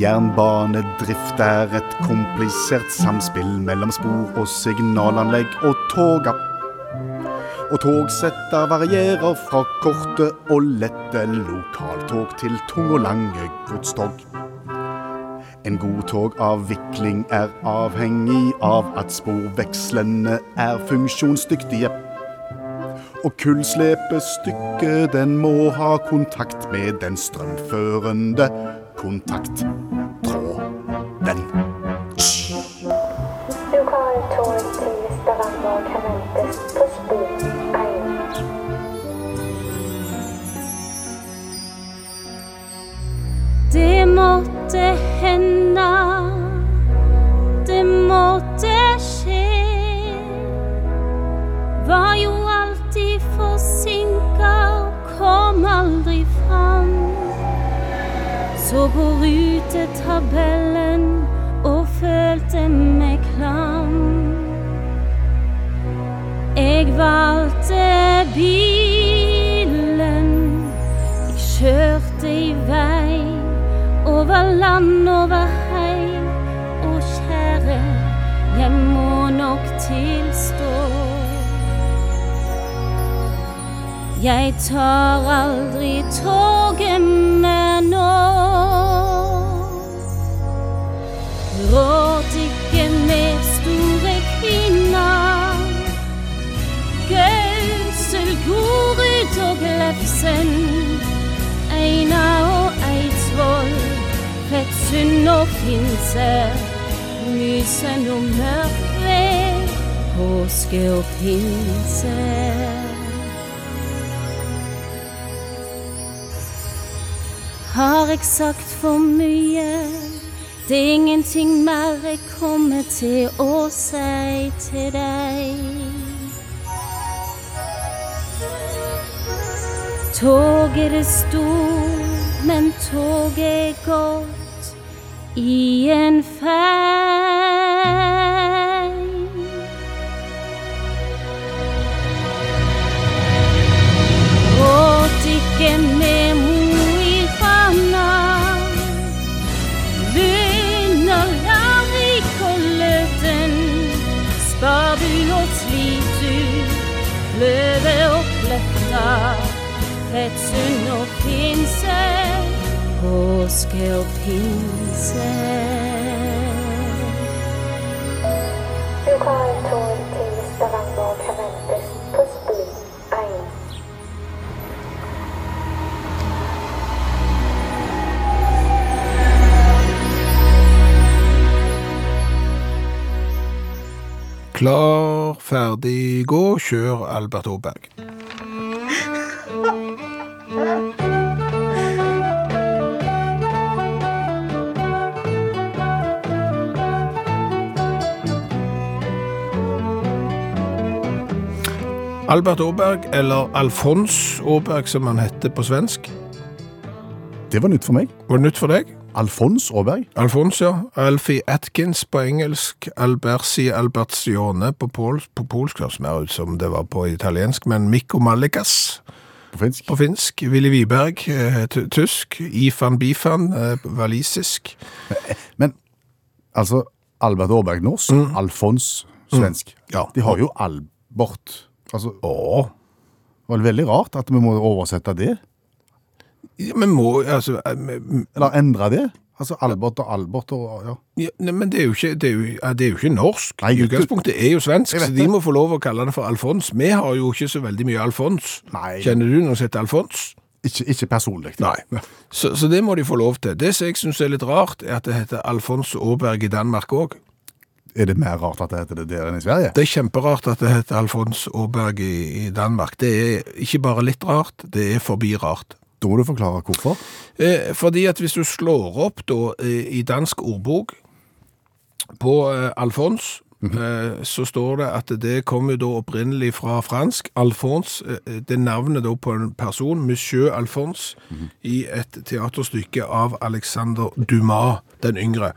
Speaker 3: Jernbanedrift er et komplisert samspill mellom spor og signalanlegg og toga. Og togsetter varierer fra korte og lette lokaltog til tunge og lange godstog. En god togavvikling er avhengig av at sporvekslene er funksjonsdyktige. Og kullslepestykket den må ha kontakt med den strømførende kontakttråden.
Speaker 8: Lokal tog til Stavanger kan ventes på spor 1.
Speaker 7: Det måtte hända Det måtte ske Var ju alltid försinkad och kom aldrig fram Så på rutetabellen och följde med klam Jag valde bilen Jeg kjørte i vei over land, over hei. Å, kjære, jeg må nok tilstå. Jeg tar aldri toget mer nå. Råd ikke med store kvinner. Gausel, Gorud og Glefsen. Einar og Eidsvoll, Fettsund og Finse, Mysen og Mørkved, påske og pinse. Har jeg sagt for mye? Det er ingenting mer jeg kommer til å si til deg. Toget er stort, men toget er godt i en fei. Gråt ikke med Mo i Rana. Lund og Larvik og Løten. Sparbu og Slitu. Kløve og Kløfta. Fettsund og Finse. Påske og pinse.
Speaker 8: Lokal tog til Stavanger kan ventes på spor 1.
Speaker 2: Klar, ferdig, gå, kjør Albert Aaberg. Albert Aaberg, eller Alfons Aaberg som han heter på svensk.
Speaker 3: Det var nytt for meg.
Speaker 2: Var det nytt for deg?
Speaker 3: Alfons Aaberg.
Speaker 2: Alfons, ja. Alfie Atkins på engelsk. Albersi Albertione på, pol på polsk, høres mer ut som det var på italiensk. Men Mikko Malikas
Speaker 3: På finsk.
Speaker 2: på finsk. Willy Wiberg eh, t- tysk. Ifan Bifan eh, walisisk.
Speaker 3: Men altså Albert Aaberg norsk, Alfons svensk.
Speaker 2: Mm. Ja.
Speaker 3: De har jo Albert. Altså, Åh. Det var veldig rart at vi må oversette det,
Speaker 2: Ja, men må altså eh, men-
Speaker 3: eller endre det. Altså Albert og Albert og ja.
Speaker 2: ja, nei, Men det er jo ikke, det er jo, ja, det er jo ikke norsk.
Speaker 3: Nei,
Speaker 2: I Utgangspunktet er jo svensk,
Speaker 3: Jeg
Speaker 2: så
Speaker 3: vet
Speaker 2: de
Speaker 3: det.
Speaker 2: må få lov å kalle det for Alfons. Vi har jo ikke så veldig mye Alfons.
Speaker 3: Nei.
Speaker 2: Kjenner du noen som heter Alfons?
Speaker 3: Ikke, ikke personlig.
Speaker 2: Nei. Så, så det må de få lov til. Det som jeg syns er litt rart, er at det heter Alfons Aaberg i Danmark òg.
Speaker 3: Er det mer rart at det heter det der enn i Sverige?
Speaker 2: Det er kjemperart at det heter Alfons Aaberg i, i Danmark. Det er ikke bare litt rart, det er forbi rart.
Speaker 3: Da må du forklare hvorfor.
Speaker 2: Eh, fordi at hvis du slår opp da eh, i dansk ordbok på eh, Alfons, eh, så står det at det kommer da opprinnelig fra fransk. Alfons, eh, det er navnet da på en person, Monsieur Alfons, i et teaterstykke av Alexander Dumas den yngre.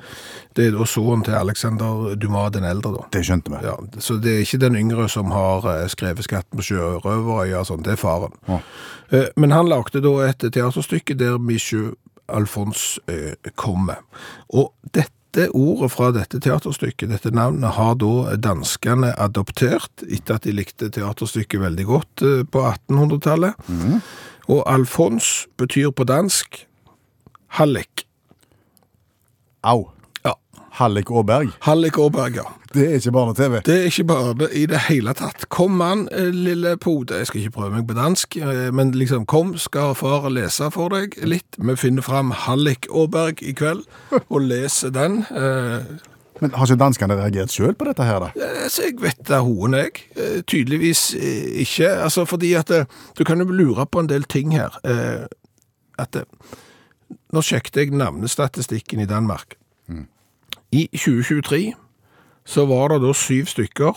Speaker 2: Det er da sønnen til Alexander Dumas den eldre da.
Speaker 3: Det skjønte vi.
Speaker 2: Ja, så det er ikke den yngre som har eh, skrevet 'Skatten på sjørøverøya' og sånn, det er faren.
Speaker 3: Ja.
Speaker 2: Eh, Men han lagde da et teaterstykke der Monsieur Alfons eh, kommer. Og dette ordet fra dette teaterstykket, dette navnet, har da danskene adoptert etter at de likte teaterstykket veldig godt eh, på 1800-tallet. Og Alfons betyr på dansk Hallik.
Speaker 3: Au.
Speaker 2: Ja.
Speaker 3: Hallik Aaberg.
Speaker 2: Hallik Aaberg, ja.
Speaker 3: Det er ikke barne-TV.
Speaker 2: Det er ikke bare det i det hele tatt. Kom an, eh, lille pode. Jeg skal ikke prøve meg på dansk, eh, men liksom kom, skal far lese for deg litt. Vi finner fram Hallik Aaberg i kveld og leser den. Eh,
Speaker 3: Men har ikke danskene reagert sjøl på dette her, da?
Speaker 2: Altså, jeg vet da hoen jeg. Eh, Tydeligvis eh, ikke. Altså, fordi at eh, du kan jo lure på en del ting her. Eh, At eh, Nå sjekket jeg navnestatistikken i Danmark. I 2023 så var det da syv stykker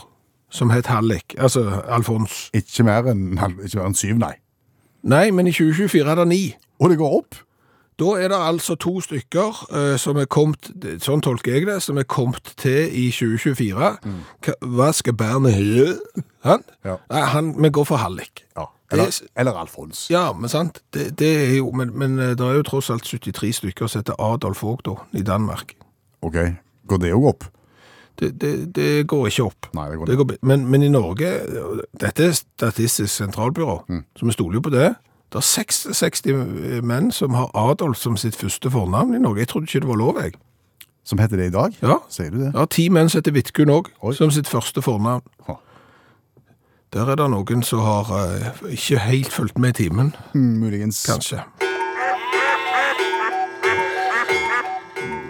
Speaker 2: som het Hallik, altså Alfons.
Speaker 3: Ikke mer enn ikke mer enn syv, nei.
Speaker 2: Nei, men i 2024 er det ni.
Speaker 3: Og det går opp!
Speaker 2: Da er det altså to stykker eh, som er kommet, sånn tolker jeg det, som er kommet til i 2024. Hva, hva skal Berne gjøre? Han?
Speaker 3: Ja.
Speaker 2: Nei, han, vi går for Hallik.
Speaker 3: Ja.
Speaker 2: Det
Speaker 3: Eller,
Speaker 2: er-
Speaker 3: eller Alfons.
Speaker 2: Ja, men sant, det, det er jo, men, men eh, det er jo tross alt 73 stykker som heter Adolf Haag da, i Danmark.
Speaker 3: OK. Går det òg opp?
Speaker 2: Det, det, det går ikke opp.
Speaker 3: Nei, det går
Speaker 2: Det
Speaker 3: ned.
Speaker 2: går, bi- men, men i Norge, dette er Statistisk sentralbyrå,
Speaker 3: Mm.
Speaker 2: så vi stoler jo på det. Det er 66 menn som har Adolf som sitt første fornavn i Norge. Jeg trodde ikke det var lov, jeg.
Speaker 3: Som heter det i dag?
Speaker 2: Ja.
Speaker 3: Sier du det?
Speaker 2: Ja, ti menn som heter Vidkun òg, som sitt første fornavn.
Speaker 3: Ha.
Speaker 2: Der er det noen som har eh, ikke helt fulgt med i timen,
Speaker 3: Mm, Muligens.
Speaker 2: kanskje.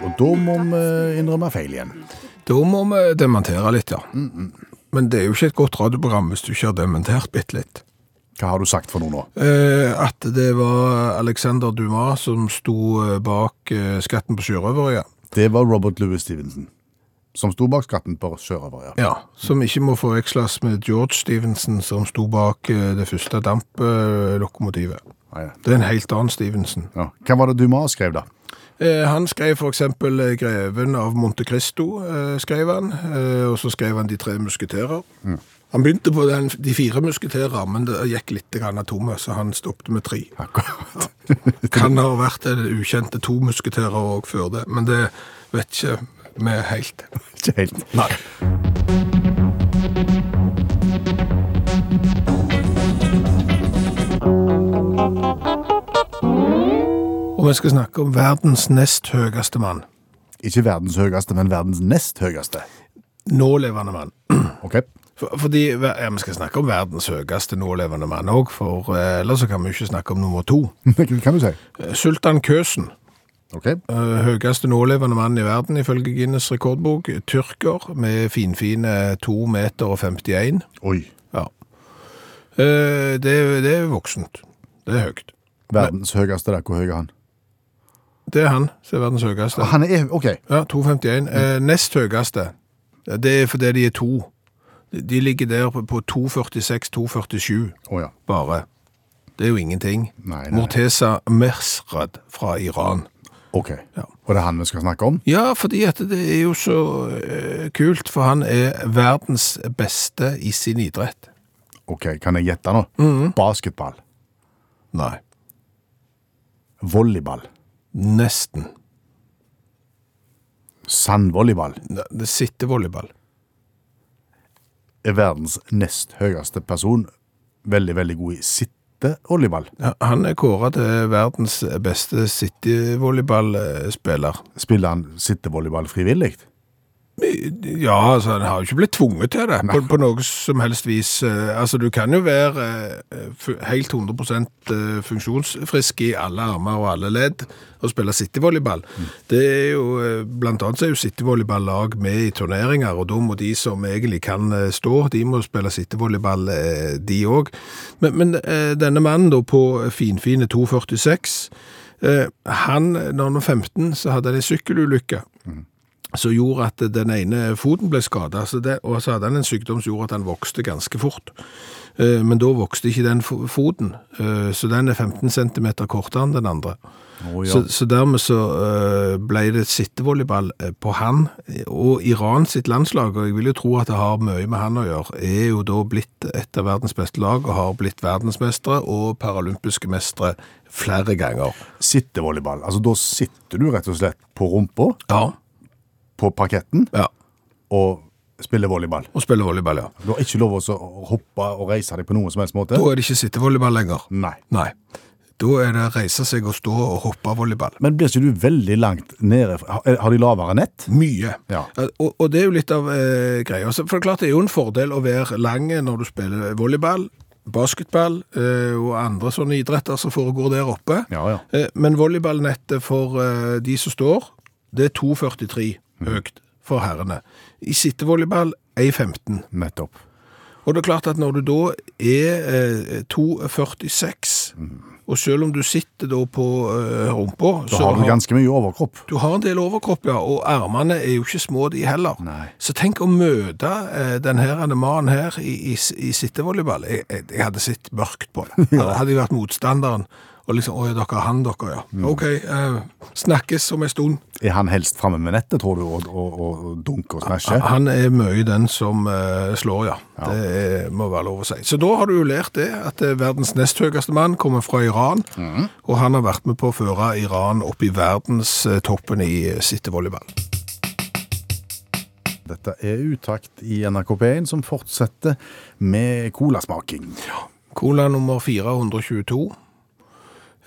Speaker 3: Og da må vi innrømme feil igjen.
Speaker 2: Da må vi dementere litt, ja.
Speaker 3: Mm,
Speaker 2: Men det er jo ikke et godt radioprogram hvis du ikke har dementert bitte litt.
Speaker 3: Hva har du sagt for noe nå?
Speaker 2: Eh, at det var Alexander Dumas som sto eh, bak eh, Skatten på sjørøvere, ja.
Speaker 3: Det var Robert Louis Stevenson. Som sto bak skatten på sjørøvere.
Speaker 2: ja. Som ikke må forveksles med George Stevenson som sto bak eh, det første damplokomotivet.
Speaker 3: Ja, ja.
Speaker 2: Det er en helt annen Stevenson.
Speaker 3: Ja. Hva var det Dumas skrev, da?
Speaker 2: Eh, Han skrev for eksempel eh, Greven av Monte Cristo, eh, skrev han, eh, og så skrev han De tre musketerer. Han begynte på den, De fire musketerer, men det gikk litt grann tomme, så han stoppet med tre.
Speaker 3: [laughs] Akkurat.
Speaker 2: [laughs] Kan ha vært det ukjente to musketerer òg før det, men det vet ikke vi helt.
Speaker 3: Ikke helt.
Speaker 2: Nei. Og vi skal snakke om verdens nest høyeste mann.
Speaker 3: Ikke verdens høyeste, men verdens nest høyeste.
Speaker 2: nålevende mann.
Speaker 3: Ok. [laughs]
Speaker 2: For, fordi, ja, Vi skal snakke om verdens høyeste nålevende mann òg, for eh, ellers så kan vi ikke snakke om nummer to.
Speaker 3: Hva kan du si?
Speaker 2: Eh, Sultan Køsen,
Speaker 3: Ok.
Speaker 2: eh, høyeste nålevende mann i verden ifølge Guinness rekordbok. Tyrker med finfine 2 meter og 51.
Speaker 3: Oi.
Speaker 2: Ja. Eh, det, det er voksent. Det er høyt.
Speaker 3: Verdens høyeste, da. Hvor høy er han?
Speaker 2: Det er han som er verdens høyeste.
Speaker 3: Han er OK.
Speaker 2: Ja, 2,51. Eh,
Speaker 3: Mm.
Speaker 2: nest høyeste, det er fordi de er to. De- De ligger der på- på 2,46-2,47.
Speaker 3: Å ja.
Speaker 2: bare. Det er jo ingenting.
Speaker 3: Nei, nei.
Speaker 2: Morteza Mersrad fra Iran.
Speaker 3: OK. Og det er han vi skal snakke om?
Speaker 2: Ja, fordi at det er jo så eh, kult, for han er verdens beste i sin idrett.
Speaker 3: OK, kan jeg gjette nå? Basketball.
Speaker 2: Nei.
Speaker 3: Volleyball.
Speaker 2: Nesten.
Speaker 3: Sandvolleyball.
Speaker 2: Ne- Det sitter volleyball.
Speaker 3: Er verdens nest høyeste person veldig, veldig god i sittevolleyball.
Speaker 2: Ja, Han er kåret til verdens beste cityvolleyballspiller.
Speaker 3: Spiller han sittevolleyball frivillig?
Speaker 2: Ja, altså, han har jo ikke blitt tvunget til det på, på noe som helst vis. Eh, Altså, du kan jo være eh, fu- helt 100 eh, funksjonsfrisk i alle armer og alle ledd og spille cityvolleyball. Det er jo, eh, blant annet så er jo cityvolleyballag med i turneringer, og da må de som egentlig kan eh, stå, de må spille cityvolleyball, eh, de òg. Men, men eh, denne mannen da på finfine 2,46, eh, han, når han var 15, så hadde han en sykkelulykke som gjorde at den ene foten ble skada. Og så hadde han en sykdom som gjorde at han vokste ganske fort. Eh, Men da vokste ikke den fo- foten, eh, så den er 15 cm kortere enn den andre. så, så dermed så eh, ble det sittevolleyball eh, på han. Og Iran sitt landslag, og jeg vil jo tro at det har mye med han å gjøre, er jo da blitt et av verdens beste lag, og har blitt verdensmestere og paralympiske mestere flere ganger.
Speaker 3: Sittevolleyball. Altså, da sitter du rett og slett på rumpa,
Speaker 2: Ja.
Speaker 3: på parketten,
Speaker 2: ja.
Speaker 3: og spiller volleyball.
Speaker 2: Og spiller volleyball, ja.
Speaker 3: Du har ikke lov å hoppe og reise deg på noen som helst måte.
Speaker 2: Da er det ikke sittevolleyball lenger.
Speaker 3: Nei.
Speaker 2: Nei. Da er det reise seg og stå og hoppe volleyball.
Speaker 3: Men blir ikke du veldig langt nede? Har har de lavere nett?
Speaker 2: Mye.
Speaker 3: Ja.
Speaker 2: Eh, Og, og det er jo litt av eh, greia. Så For det er klart det er jo en fordel å være lang når du spiller volleyball, basketball eh, og andre sånne idretter som foregår der oppe.
Speaker 3: Ja, ja.
Speaker 2: Eh, men volleyballnettet for eh, de som står, det er 2,43
Speaker 3: Mm.
Speaker 2: høyt for herrene. I sittevolleyball 1,15.
Speaker 3: Nettopp.
Speaker 2: Og det er klart at når du da er eh, 2,46, og selv om du sitter da på eh, rumpa
Speaker 3: Mm. Da har du ganske mye overkropp.
Speaker 2: du har en del overkropp, ja, og armene er jo ikke små de heller.
Speaker 3: Nei.
Speaker 2: Så tenk å møte eh, den her ene mannen her i, i, i sittevolleyball. Jeg, jeg, jeg hadde sett mørkt på det. Hadde jeg vært motstanderen, og liksom, åja, dere er han, dere, ja. Ok, eh, snakkes om en stund.
Speaker 3: Er han helst framme med nettet, tror du, og, og, og, og dunker og smasher?
Speaker 2: Han er mye den som eh, slår, ja. Det er, må være lov å si. Så da har du jo lært det, at eh, verdens nest høyeste mann kommer fra Iran, og han har vært med på å føre Iran opp i verdenstoppen i eh, sittevolleyball.
Speaker 3: Dette er Utakt i NRK P1, som fortsetter med colasmaking.
Speaker 2: Cola nummer 422.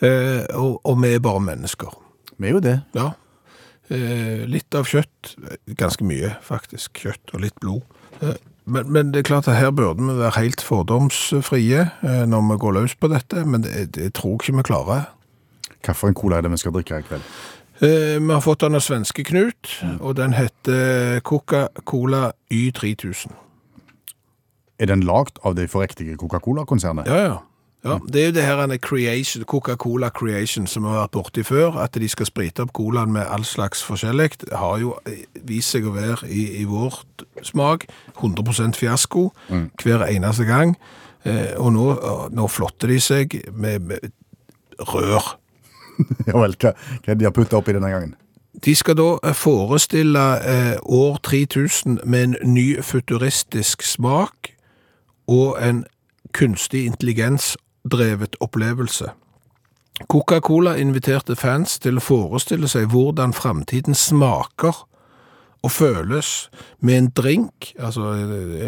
Speaker 2: Eh, og, og vi er bare mennesker.
Speaker 3: Vi er jo det.
Speaker 2: Ja. Eh, litt av kjøtt. Ganske mye, faktisk. Kjøtt og litt blod. Eh, men, men det er klart at her burde vi være helt fordomsfrie eh, når vi går løs på dette, men det, det tror jeg ikke vi klarer.
Speaker 3: Hvilken cola er det vi skal drikke her i kveld?
Speaker 2: Eh, vi har fått den av svenske Knut, og den heter Coca-Cola Y3000.
Speaker 3: Er den lagd av det forriktige Coca-Cola-konsernet?
Speaker 2: Ja, ja. Ja, Det er jo det her en creation, Coca-Cola Creation som vi har vært borti før. At de skal sprite opp colaen med all slags forskjellig, har jo eh, vist seg å være i, i vårt smak 100 fiasko hver eneste gang. Eh, og nå, nå flotter de seg med, med rør.
Speaker 3: [laughs] Ja vel, hva, hva er det de har putta oppi denne gangen?
Speaker 2: De skal da forestille eh, år 3000 med en ny futuristisk smak og en kunstig intelligensdrevet opplevelse. Coca-Cola inviterte fans til å forestille seg hvordan framtiden smaker og føles med en drink, altså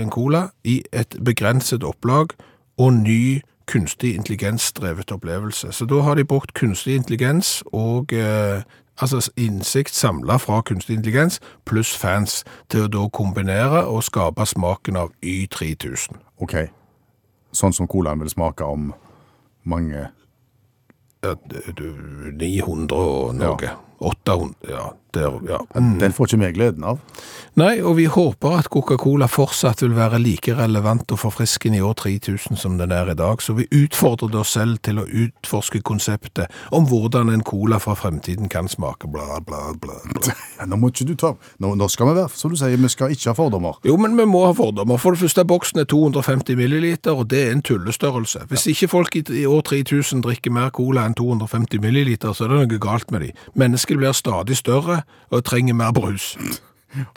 Speaker 2: en cola, i et begrenset opplag og ny kunstig intelligensdrevet opplevelse. Så da har de brukt kunstig intelligens og eh, altså innsikt samla fra kunstig intelligens pluss fans til å da kombinere og skape smaken av Y3000.
Speaker 3: OK, sånn som colaen vil smake om mange
Speaker 2: Ja, det- du- 900 og noe.
Speaker 3: Ja.
Speaker 2: 800, ja. Der, ja.
Speaker 3: Den får ikke vi gleden av.
Speaker 2: Nei, og vi håper at Coca-Cola fortsatt vil være like relevant og forfriskende i år 3000 som den er i dag, så vi utfordrer oss selv til å utforske konseptet om hvordan en cola fra fremtiden kan smake, bla, bla, bla.
Speaker 3: [laughs]
Speaker 2: bla.
Speaker 3: Ja, Nå må ikke du ta Nå, nå skal vi være, som du sier, vi skal ikke ha fordommer.
Speaker 2: Jo, men vi må ha fordommer. For det første, boksen er 250 milliliter, og det er en tullestørrelse. Hvis ikke folk i, i år 3000 drikker mer cola enn 250 milliliter, så er det noe galt med dem. Mennesket blir stadig større og trenger mer brus.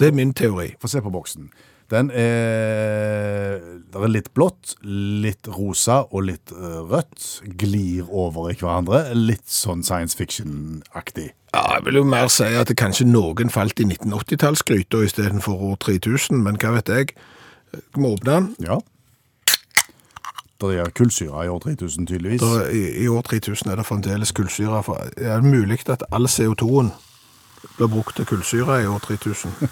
Speaker 2: Det er min teori.
Speaker 3: Få se på boksen. Den er, det er litt blått, litt rosa og litt eh, rødt. Glir over i hverandre. Litt sånn science fiction-aktig.
Speaker 2: Ja, jeg vil jo mer si at det kanskje noen falt i 1980-tallsgryta istedenfor år 3000, men hva vet jeg. Skal vi åpne den?
Speaker 3: Ja. Det er kullsyre i år 3000, tydeligvis.
Speaker 2: Da, i, I år 3000 er det fremdeles kullsyre. for- Er det mulig at all CO2-en blir brukt til kullsyre i år 3000?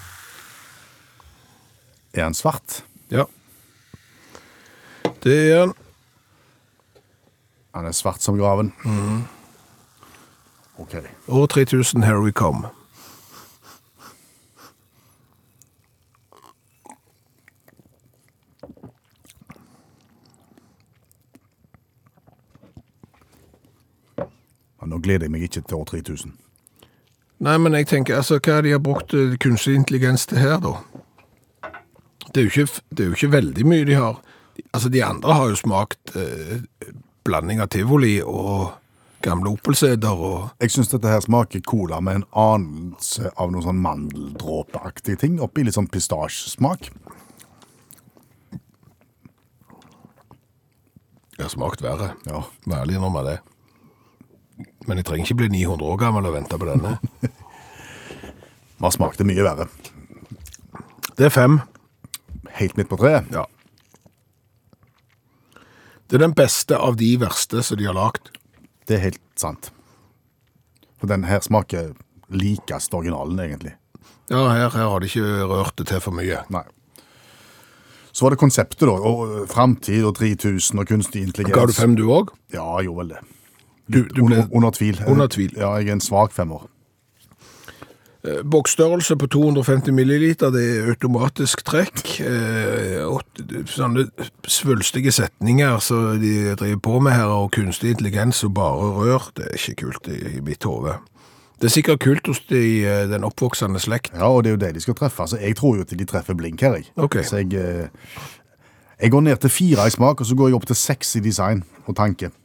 Speaker 3: Er den svart?
Speaker 2: Ja. Det er den.
Speaker 3: Han er svart som graven. OK.
Speaker 2: År 3000, here we come.
Speaker 3: Ja, nå gleder jeg meg ikke til år 3000.
Speaker 2: Nei, men jeg tenker, altså, hva de har brukt eh, kunstig intelligens til her, da? Det er jo ikke, f- det er jo ikke veldig mye de har. Altså, de andre har jo smakt eh, blanding av tivoli og gamle opelseder og
Speaker 3: Jeg syns dette her smaker cola med en anelse av noen sånn mandeldråpeaktige ting oppi. Litt sånn pistasjesmak.
Speaker 2: Jeg har smakt verre.
Speaker 3: Ja.
Speaker 2: Vær ærlig innrømme det. Men jeg trenger ikke bli 900 år gammel og vente på denne.
Speaker 3: Man smakte mye verre.
Speaker 2: [laughs] Det er fem.
Speaker 3: Helt midt på treet.
Speaker 2: Ja. Det er den beste av de verste som de har lagd.
Speaker 3: Det er helt sant. For den her smaker likest originalen, egentlig.
Speaker 2: Ja, her, her har de ikke rørt det til for mye.
Speaker 3: Nei. Så var det konseptet, da. Og eh, framtid og 3000 og kunstig intelligens.
Speaker 2: Ga du fem, du òg?
Speaker 3: Ja, jeg gjorde vel det.
Speaker 2: Du, du ble
Speaker 3: Under, under tvil.
Speaker 2: Under tvil.
Speaker 3: Ja, jeg er en svak femmer.
Speaker 2: eh, Boksstørrelse på 250 milliliter, det er automatisk trekk. Eh, åt- sånne svulstige setninger som de driver på med her, og kunstig intelligens og bare rør, det er ikke kult i, i mitt hode. Det er sikkert kult hos de, eh, den oppvoksende slekt.
Speaker 3: Ja, og det er jo det de skal treffe. Altså, jeg tror jo at de treffer blink her, jeg.
Speaker 2: Ok.
Speaker 3: Så jeg, eh, jeg går ned til fire i smak, og så går jeg opp til seks i design og tanke. [laughs]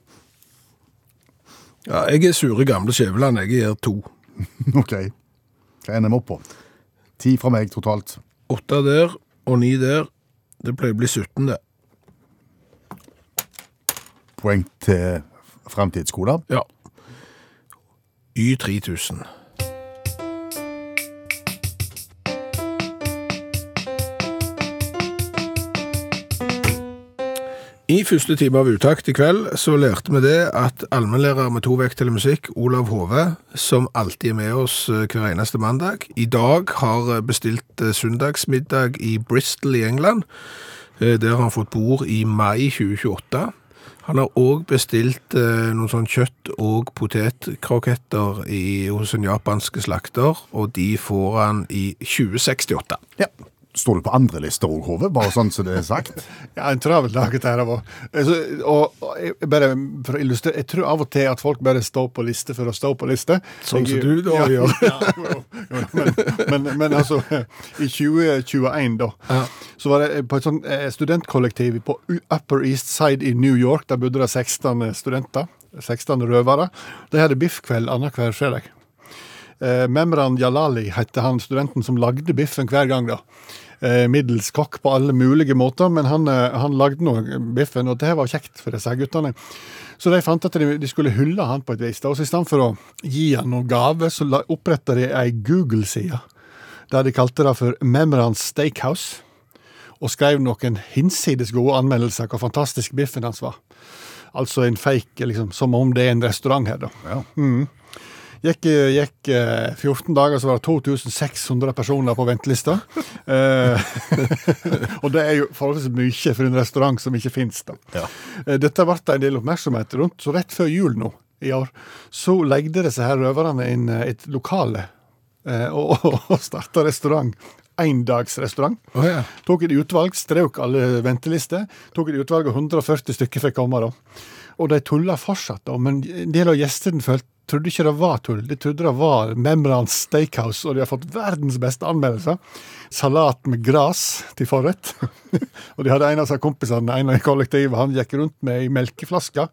Speaker 2: Ja, jeg er sure gamle Skjæveland, jeg gir to.
Speaker 3: Ok. Hva ender vi opp på? Ti fra meg totalt.
Speaker 2: Åtte der og ni der. Det pleier å bli 17, det.
Speaker 3: Poeng til framtidsskoler.
Speaker 2: Ja. Y3000. I første time av uttakt i kveld så lærte vi det at allmennlærer med to vekttall i musikk, Olav Hove, som alltid er med oss eh, hver eneste mandag, i dag har eh, bestilt eh, søndagsmiddag i Bristol i England. Eh, Der har han fått bord i mai 2028. Han har òg bestilt eh, noen sånn kjøtt- og potetkroketter i, hos en japansk slakter, og de får han i 2068.
Speaker 3: Ja. Står du på andre lister òg, Hove? Bare sånn som det er sagt.
Speaker 6: Ja, en travel dag dette her var. Altså, og, og jeg- bare for å illustrere, jeg tror av og til at folk bare står på liste for å stå på liste.
Speaker 2: Sånn som
Speaker 6: Jeg-
Speaker 2: du da
Speaker 6: ja, [laughs]
Speaker 2: gjør.
Speaker 6: Ja, jo, jo, men, men, men altså, i 2021 da, så var det på et sånt eh, studentkollektiv på U- Upper East Side i New York, der bodde det 16 studenter, 16 røvere. De hadde biffkveld annenhver fredag. Eh, Memran Jalali hette han studenten som lagde biffen hver gang. da. Eh, middels kokk på alle mulige måter, men han, eh, han lagde nå biffen, og det var kjekt for disse guttene. Så de fant at de, de skulle hylle han på et vis. da, og så I stedet for å gi han noen gave, så la- oppretta de ei Google-side der de kalte det for Memrans Steakhouse. Og skrev noen hinsides gode anmeldelser hvor fantastisk biffen hans var. Altså en fake, liksom, som om det er en restaurant her, da.
Speaker 3: [laughs] Ja.
Speaker 6: Gikk, gikk eh, 14 dager, så var det 2600 personer på ventelista. Eh, [laughs] og det er jo forholdsvis mye for en restaurant som ikke finnes da. Eh, Dette ble det en del oppmerksomhet rundt, så rett før jul nå i år, så legde disse her røverne inn eh, et lokale eh, og, [laughs] og starta restaurant. Endagsrestaurant.
Speaker 2: Å ja.
Speaker 6: Tok et utvalg, strøk alle ventelister. Tok et utvalg, og 140 stykker fikk komme. da. Og de tulla fortsatt, da, men en del av gjestene følte, trodde ikke det var tull. De trodde det var Memrans Steakhouse, og de har fått verdens beste anmeldelser. Salat med gras til forrett. [laughs] og de hadde en av seg kompisene en av kollektivet, han gikk rundt med ei melkeflaske.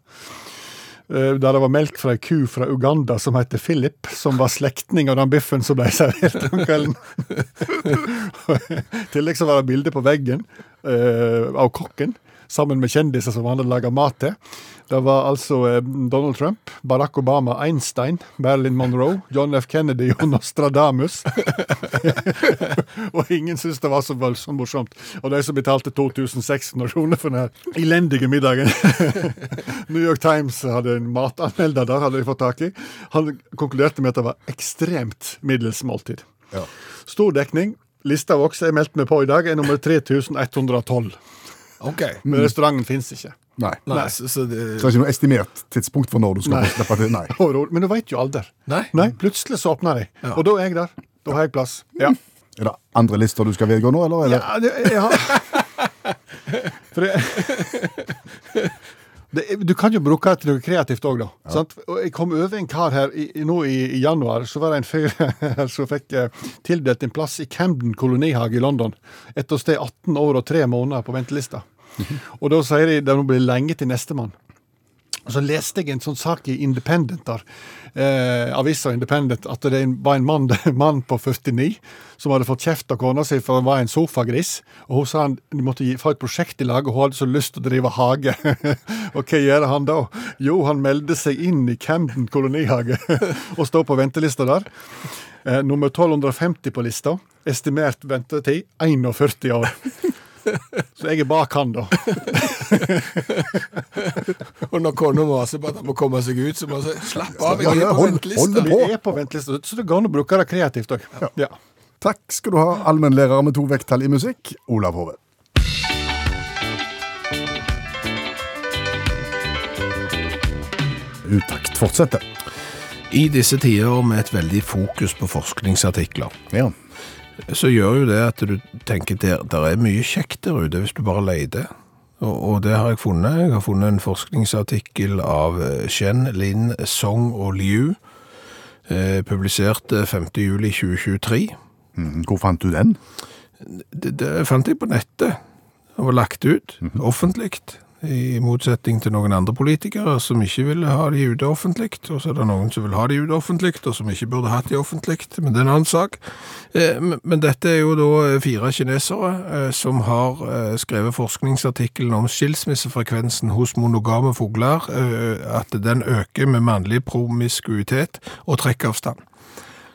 Speaker 6: eh, Der det var melk fra ei ku fra Uganda som heter Philip, som var slektning av den biffen som ble [laughs] servert om kvelden. I [laughs] tillegg så var det liksom bilde på veggen eh, av kokken, sammen med kjendiser som han hadde laga mat til. Det var altså eh, Donald Trump, Barack Obama, Einstein, Marilyn Monroe, John F. Kennedy [laughs] og Nostradamus. [laughs] og ingen syntes det var så voldsomt morsomt. Og de som betalte 2600 kroner for den her elendige middagen. [laughs] New York Times hadde en matanmelder der, hadde de fått tak i. Han konkluderte med at det var ekstremt middels måltid. Stor dekning. Lista vokser. Jeg meldte meg på i dag. Er nummer 3112.
Speaker 2: OK.
Speaker 6: Men restauranten fins ikke.
Speaker 3: Nei.
Speaker 2: Nei, så, så det,
Speaker 3: Så det er ikke noe estimert tidspunkt for når du skal
Speaker 6: Nei.
Speaker 3: få slippe til? Nei.
Speaker 6: Overhodet. Men du veit jo alder.
Speaker 2: Nei.
Speaker 6: Plutselig så åpner de. Og da er jeg der. Da har jeg plass. Ja.
Speaker 3: Er det andre lister du skal vedgå nå,
Speaker 6: [laughs]
Speaker 3: eller? eller?
Speaker 6: Ja, det, ja. For det, Det, er- du kan jo bruke det til noe kreativt òg, da. Sant? Og jeg kom over en kar her i, i- nå i, i januar. Så var det en fyr her som fikk eh, tildelt en plass i Camden kolonihage i London. Etter å stå 18 år og 3 måneder på ventelista. Og da sier de at det nå blir lenge til nestemann. Og Så leste jeg en sånn sak i Independent, der, eh, avisa Independent, at det en- var en mann, [laughs] mann på 49 som hadde fått kjeft av kona si for han var en sofagris. Og Hun sa han de måtte gi- få et prosjekt i lag, og hun hadde så lyst til å drive hage. [laughs] og hva gjør han da? Jo, han meldte seg inn i Camden kolonihage [laughs] og står på ventelista der. Eh, nummer 1250 på lista. Estimert ventetid 41 år. Så jeg er bak han, da.
Speaker 2: Og når kona maser på at han må komme seg ut, så må han si slapp av,
Speaker 9: Ja,
Speaker 2: jeg
Speaker 9: ja,
Speaker 2: er på
Speaker 9: hold-
Speaker 2: ventelista.
Speaker 9: hold
Speaker 6: Vi er på ventelista, så det går an å bruke det kreativt òg. Ja.
Speaker 9: Takk skal du ha, allmennlærer med to vekttall i musikk, Olav Hove. Utakt fortsetter.
Speaker 2: I disse tider med et veldig fokus på forskningsartikler,
Speaker 9: Ja.
Speaker 2: så gjør jo det at du tenker der, der er mye kjekt der ute hvis du bare leter. Og, og det har jeg funnet. Jeg har funnet en forskningsartikkel av eh, Shen, Lin, Song og Liu, eh, publisert eh, 5. juli 2023.
Speaker 9: Mm, Hvor fant du den?
Speaker 2: Det, det fant jeg på nettet. Det var lagt ut offentlig, i motsetning til noen andre politikere som ikke ville ha de ute offentlig. Og så er det noen som vil ha de ute offentlig, og som ikke burde hatt de offentlig. Men det er en annen sak. Eh, Men men dette er jo da fire kinesere eh, som har eh, skrevet forskningsartikkelen om skilsmissefrekvensen hos monogame fugler, eh, at den øker med mannlig promiskuitet og trekkavstand.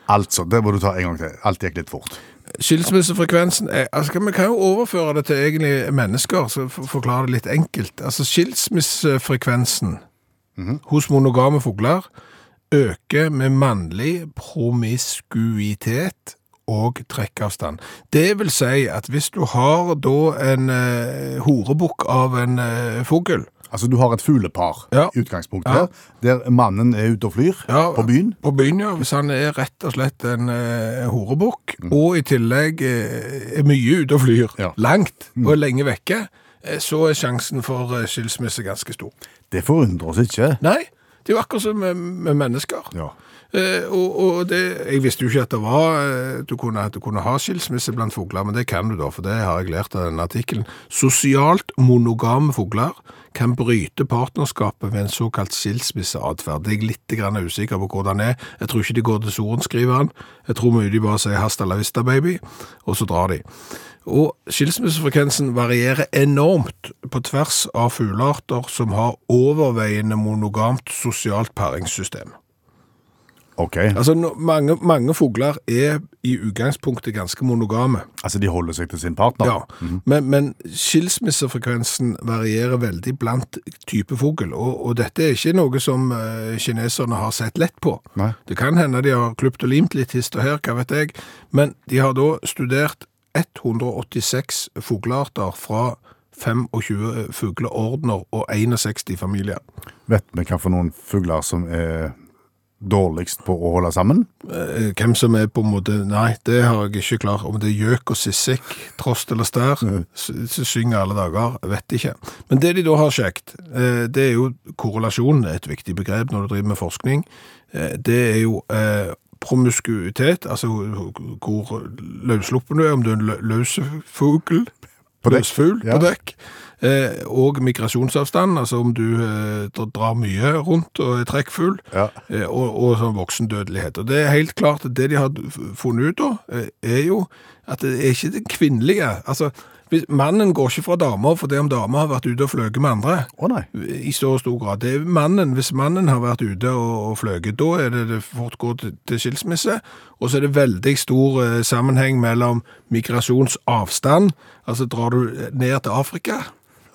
Speaker 9: Altså, det må du ta en gang til. Alt gikk litt fort.
Speaker 2: Skilsmissefrekvensen er, altså, Vi kan jo overføre det til egentlig mennesker, så for, forklare det litt enkelt. Altså Skilsmissefrekvensen hos monogame fugler øker med mannlig promiskuitet og trekkavstand. Det vil si at hvis du har da en eh, horebukk av en eh, fugl
Speaker 9: Altså, du har et fuglepar
Speaker 2: Ja.
Speaker 9: i utgangspunktet, der mannen er ute og flyr
Speaker 2: Ja.
Speaker 9: på byen.
Speaker 2: På byen, ja. Hvis han er rett og slett en eh, horebukk, og i tillegg eh, er mye ute og flyr,
Speaker 9: Mm. Ja. Mm.
Speaker 2: langt og er lenge vekke, eh, så er sjansen for eh, skilsmisse ganske stor.
Speaker 9: Det forundrer oss ikke.
Speaker 2: Nei, det er jo akkurat som med, med mennesker.
Speaker 9: Ja.
Speaker 2: Eh, og og det, jeg visste jo ikke at det var eh, du kunne, at du kunne ha skilsmisse blant fugler, men det kan du da, for det har jeg lært av denne artikkelen. Sosialt monogame fugler kan bryte partnerskapet ved en såkalt skilsmisseatferd. Jeg er litt grann usikker på hvordan det er. Jeg tror ikke de går til sorenskriveren. Jeg tror mye de bare sier hasta la vista, baby, og så drar de. Og skilsmissefrekvensen varierer enormt på tvers av fuglearter som har overveiende monogamt sosialt paringssystem.
Speaker 9: Ok,
Speaker 2: Altså, no, mange, mange fugler er i utgangspunktet ganske monogame,
Speaker 9: altså de holder seg til sin partner.
Speaker 2: ja. men, men skilsmissefrekvensen varierer veldig blant type fugl, og, og dette er ikke noe som eh, kineserne har sett lett på.
Speaker 9: Nei.
Speaker 2: Det kan hende de har kløpt og limt litt hist og her, hva vet jeg, men de har da studert 186 fuglearter fra 25 fugleordner og 61 familier.
Speaker 9: Vet vi hva for noen fugler som er dårligst på å holde sammen?
Speaker 2: Eh, Hvem som er på en måte Nei, det har jeg ikke klar. Om det er gjøk og sissik, trost eller stær,
Speaker 9: Mm.
Speaker 2: s- s- synger alle dager, vet ikke. Men det de da har sjekket, eh, det er jo korrelasjon, det er et viktig begrep når du driver med forskning. Eh, Det er jo eh, promiskuitet, altså ho- ho- hvor løssluppen du er, om du er en lø- løs fugl
Speaker 9: På dekk,
Speaker 2: løsfugl
Speaker 9: ja.
Speaker 2: på dekk. Eh, og migrasjonsavstand, altså om du eh, dr- drar mye rundt og er trekkfugl.
Speaker 9: Ja.
Speaker 2: Eh, og, og sånn voksendødelighet. Og det er helt klart at det de har f- funnet ut da, eh, er jo at det er ikke det kvinnelige. Altså, hvis, mannen går ikke fra damer fordi om damer har vært ute og fløget med andre
Speaker 9: Å nei.
Speaker 2: i så stor grad. Det er mannen, hvis mannen har vært ute og, og fløget, da er det det fort går til, til skilsmisse. Og så er det veldig stor eh, sammenheng mellom migrasjonsavstand, altså drar du ned til Afrika,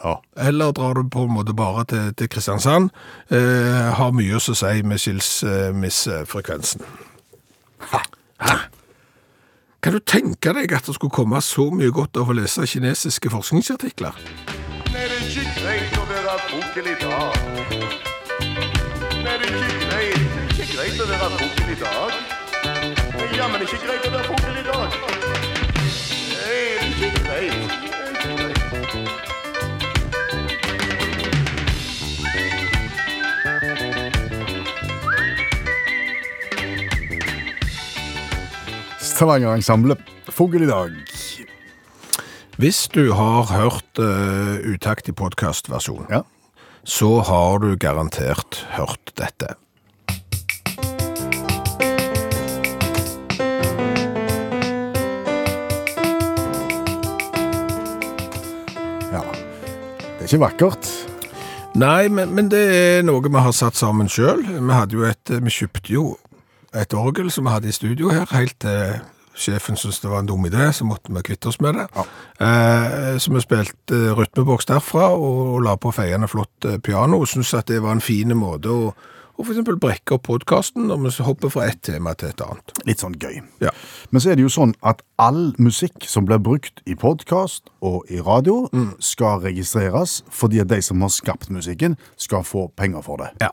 Speaker 9: Ja.
Speaker 2: eller drar du på en måte bare til, til Kristiansand, eh, har mye å si med eh, skilsmissefrekvensen. Ha. Ha. Kan du tenke deg at det skulle komme så mye godt av å lese kinesiske forskningsartikler?
Speaker 10: När det gick grejt att vara fågel idag När det gick grejt, gick grejt att vara fågel idag Ja, men det gick grejt att vara fågel idag Nej, det gick grejt, det gick grejt
Speaker 3: Stavanger-ensemblet Fogel i dag.
Speaker 2: Hvis du har hørt eh, utakt i podkastversjon,
Speaker 3: Ja.
Speaker 2: så har du garantert hørt dette.
Speaker 3: ja. Det er ikke vakkert.
Speaker 2: Nei, men, men det er noe vi har satt sammen sjøl. Vi, hadde jo et- vi kjøpte jo et orgel som vi hadde i studio her, helt til sjefen syntes det var en dum idé, så måtte vi kvitte oss med det. Eh, så vi spilte eh, rytmeboks derfra, og, og la på feiende flott eh, piano, og syntes at det var en fin måte å, å f.eks. brekke opp podkasten når vi hopper fra ett tema til et annet.
Speaker 3: Litt sånn gøy.
Speaker 2: Ja.
Speaker 3: Men så er det jo sånn at all musikk som blir brukt i podkast og i radio,
Speaker 2: Mm.
Speaker 3: skal registreres fordi at de som har skapt musikken, skal få penger for det.
Speaker 2: Ja.